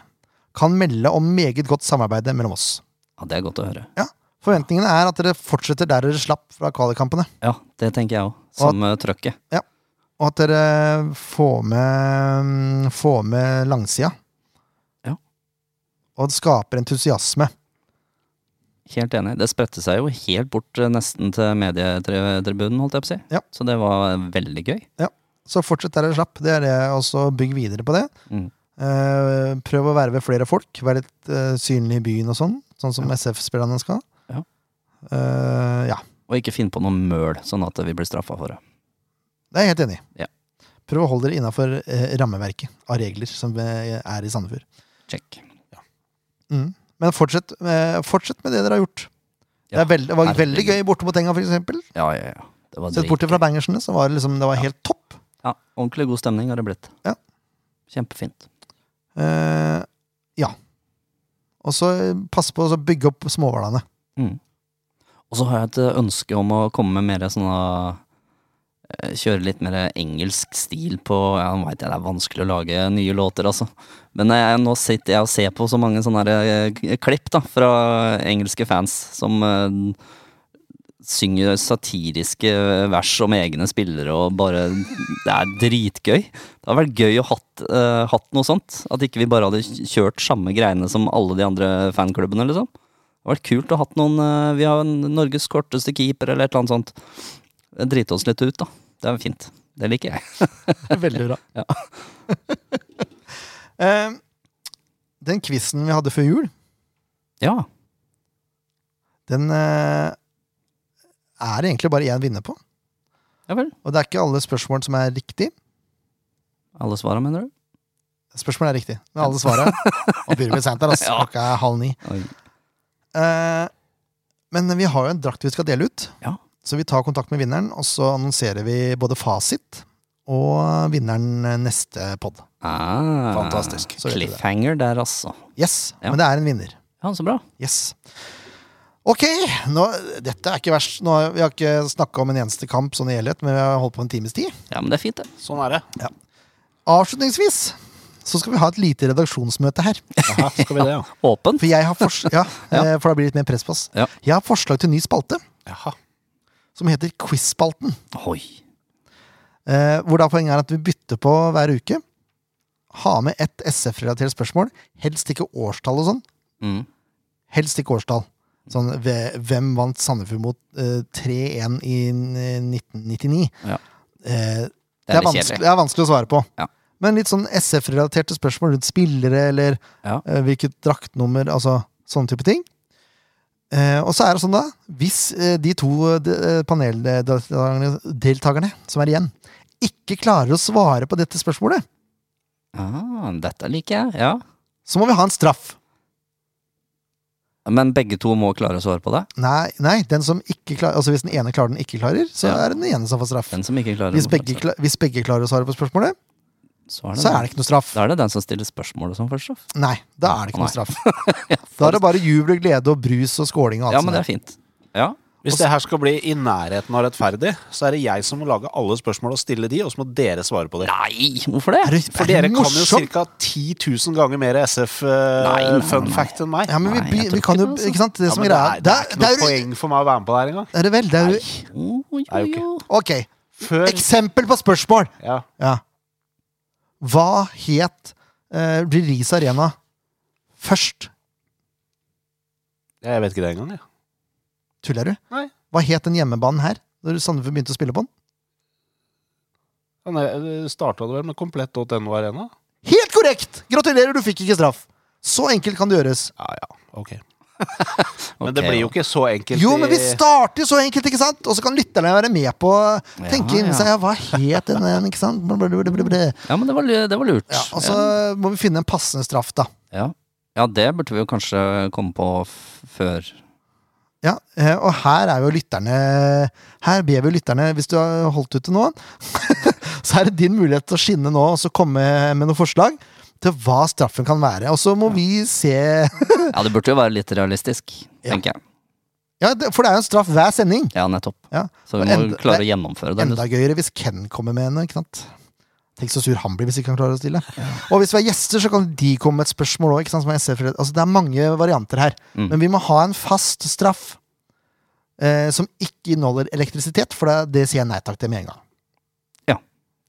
A: Kan melde om meget godt samarbeide mellom oss.
C: Ja, Det er godt å høre.
A: Ja. Forventningene er at dere fortsetter der dere slapp fra kvalikkampene.
C: Ja, det tenker jeg òg. Samme trøkket.
A: Og at dere får med, mm, får med langsida.
C: Ja.
A: Og skaper entusiasme.
C: Helt enig. Det spredte seg jo helt bort eh, nesten til medietribunen, holdt jeg på å si.
A: Ja.
C: Så det var veldig gøy.
A: Så fortsett der dere slapp. Det er det, og så bygg videre på det.
C: Mm.
A: Eh, prøv å verve flere folk. Vær litt eh, synlig i byen og sånn. Sånn som SF-spillerne skal.
C: Ja.
A: Eh, ja.
C: Og ikke finn på noe møl, sånn at vi blir straffa for det.
A: Det er jeg helt enig i.
C: Ja.
A: Prøv å holde dere innafor eh, rammeverket av regler som eh, er i Sandefjord.
C: Check.
A: Mm. Men fortsett, eh, fortsett med det dere har gjort. det,
C: Ja,
A: er veld, det var veldig
C: herregud.
A: gøy borte mot Enga, for eksempel.
C: Ja, ja, ja. Det var
A: Sett bort fra bangersene, så var det liksom, det var helt topp.
C: Ja, ordentlig god stemning har det blitt.
A: Ja.
C: Kjempefint.
A: Eh, ja. Og så eh, pass på å bygge opp småhvalene.
C: Og så har jeg et eh, ønske om å komme med mer sånn eh, Kjøre litt mer engelsk stil på ja, Nå veit jeg det er vanskelig å lage nye låter, altså. Men jeg, nå sitter jeg og ser på så mange sånne her, eh, klipp da, fra engelske fans som eh, synger satiriske eh, vers om egne spillere og bare Det er dritgøy. Det hadde vært gøy å hatt, eh, hatt noe sånt. At ikke vi bare hadde kjørt samme greiene som alle de andre fanklubbene, liksom. Det hadde vært kult å hatt noen eh, Vi har en Norges korteste keeper eller et eller annet sånt. Drite oss litt ut, da. Det er fint. Det liker jeg.
A: Veldig bra.
C: Ja.
A: Eh, den quizen vi hadde før jul,
C: Ja.
A: den eh, er egentlig bare én vinner på.
C: Ja vel.
A: Og det er ikke alle spørsmål som er riktig.
C: Alle svara, mener du?
A: Spørsmålet er riktig, men alle svarer. Og begynner med sent her, altså.
C: Ja.
A: Klokka er halv ni.
C: Oi.
A: Eh, men vi har jo en drakt vi skal dele ut.
C: Ja.
A: Så vi tar kontakt med vinneren, og så annonserer vi både fasit og vinneren neste pod.
C: Ah,
B: Fantastisk.
A: Så vet du det.
C: Cliffhanger der, altså.
A: Yes,
C: Ja.
A: men det er en vinner.
C: Ja, så bra.
A: Yes. Ok, nå, dette er ikke verst. Nå, har- vi har ikke snakka om en eneste kamp sånn i helhet, men vi har holdt på en times tid.
C: Ja, men det er fint, det.
B: Sånn er det.
A: Avslutningsvis så skal vi ha et lite redaksjonsmøte her.
B: Jaha, skal vi det, ja.
C: Åpent.
A: For jeg har fors ja, eh, for da blir det litt mer press på oss.
C: Ja.
A: Jeg har forslag til ny spalte,
B: Jaha.
A: som heter Quiz-spalten.
C: Oi.
A: Eh, hvor da poenget er at vi bytter på hver uke. Ha med ett SF-relatert spørsmål. Helst ikke årstall og sånn.
C: Mm.
A: Helst ikke årstall. Sånn, ve- hvem vant Sandefjord mot eh, 3-1 i eh, 1999?
C: Ja.
A: Eh,
C: Det er litt
A: vanskelig,
C: kjedelig.
A: det er vanskelig å svare på.
C: Ja.
A: Men litt sånn SF-relaterte spørsmål rundt spillere, eller
C: Ja.
A: eh, hvilket draktnummer, altså sånne type ting. Eh, og så er det sånn, da, hvis eh, de to eh, de- eh, paneldeltakerne deltakerne som er igjen, ikke klarer å svare på dette spørsmålet,
C: Ah, dette liker jeg. Ja.
A: så må vi ha en straff.
C: Men begge to må klare å svare på det.
A: Nei, nei den som ikke klarer, altså hvis den ene klarer den ikke klarer, så
C: Ja.
A: er det den ene som får straff.
C: Den som ikke klarer
A: Hvis
C: å
A: begge,
C: svare,
A: kla- hvis begge klarer å svare på spørsmålet,
C: så
A: så er det ikke noe straff.
C: Da er det den som stiller spørsmål og sånn først, da.
A: Nei, da er det ikke
C: Nei.
A: noe straff. Da er det bare jubel og glede og brus og skåling og alt
C: Ja, men det
A: sånt.
C: er fint. Ja.
B: Hvis det her skal bli i nærheten av rettferdig, så er det jeg som må lage alle spørsmål og stille de, og så må dere svare på det.
C: Nei, hvorfor det?
A: Er du-
B: For
A: er
B: dere
A: du
B: kan jo
A: morsom?
B: ca. 10 000 ganger mer
C: Nei, nei, nei,
B: SF-fun
C: nei.
B: fact enn meg.
A: Ja, men vi,
C: Nei,
A: vi,
C: jeg tror
A: vi kan
C: ikke
A: jo
C: det, altså.
A: Ikke sant? Det
B: Ja,
A: som er
B: men det,
A: greia
B: er, det er ikke noe
A: det er-
B: poeng for meg å være med på det her engang.
A: Er det vel? Det er jo
C: Jo, jo,
B: er jo ikke-
C: jo.
A: Ok.
B: Før
A: Eksempel på spørsmål!
B: ja.
A: Ja. Hva het uh, Riis Arena først?
B: Jeg vet ikke det engang, jeg.
A: Tuller du?
B: Nei.
A: Hva het den hjemmebanen her, når Sandefjord begynte å spille på den?
B: Ja. Starta det vel med komplett.no Arena?
A: Helt korrekt! Gratulerer, du fikk ikke straff! Så enkelt kan det gjøres.
B: Ja ja, ok. Men
C: Ok,
B: det blir
C: da.
B: jo ikke så enkelt
A: Jo, men vi
B: i
A: starter så enkelt, ikke sant? Og så kan lytterne være med på å tenke
C: Ja,
A: inn
C: ja.
A: seg ja, hva het den, eh, ikke sant? Blablabla.
C: Ja, men det var, lu- det var lurt.
A: Ja, altså- og så må vi finne en passende straff, da.
C: ja. ja, det burde vi jo kanskje komme på f før.
A: Ja, eh, og her er jo lytterne Her ber vi lytterne, hvis du har holdt ut til nå, så er det din mulighet til å skinne nå og så komme med noen forslag til hva straffen kan være. Og så må vi se
C: Ja, det burde jo være litt realistisk,
A: Ja.
C: tenker jeg.
A: Ja, det- for det er jo en straff hver sending.
C: Ja, nettopp.
A: Ja.
C: Så vi
A: Og
C: må
A: enda-
C: klare
A: det
C: å gjennomføre
A: er
C: det.
A: enda gøyere hvis Ken kommer med henne. ikke sant? Tenk så sur han blir hvis ikke han klarer å stille. Og hvis vi har gjester, så kan de komme med et spørsmål òg. Altså, det er mange varianter her. Men vi må ha en fast straff eh, som ikke inneholder elektrisitet, for det, det sier jeg nei takk til med en gang.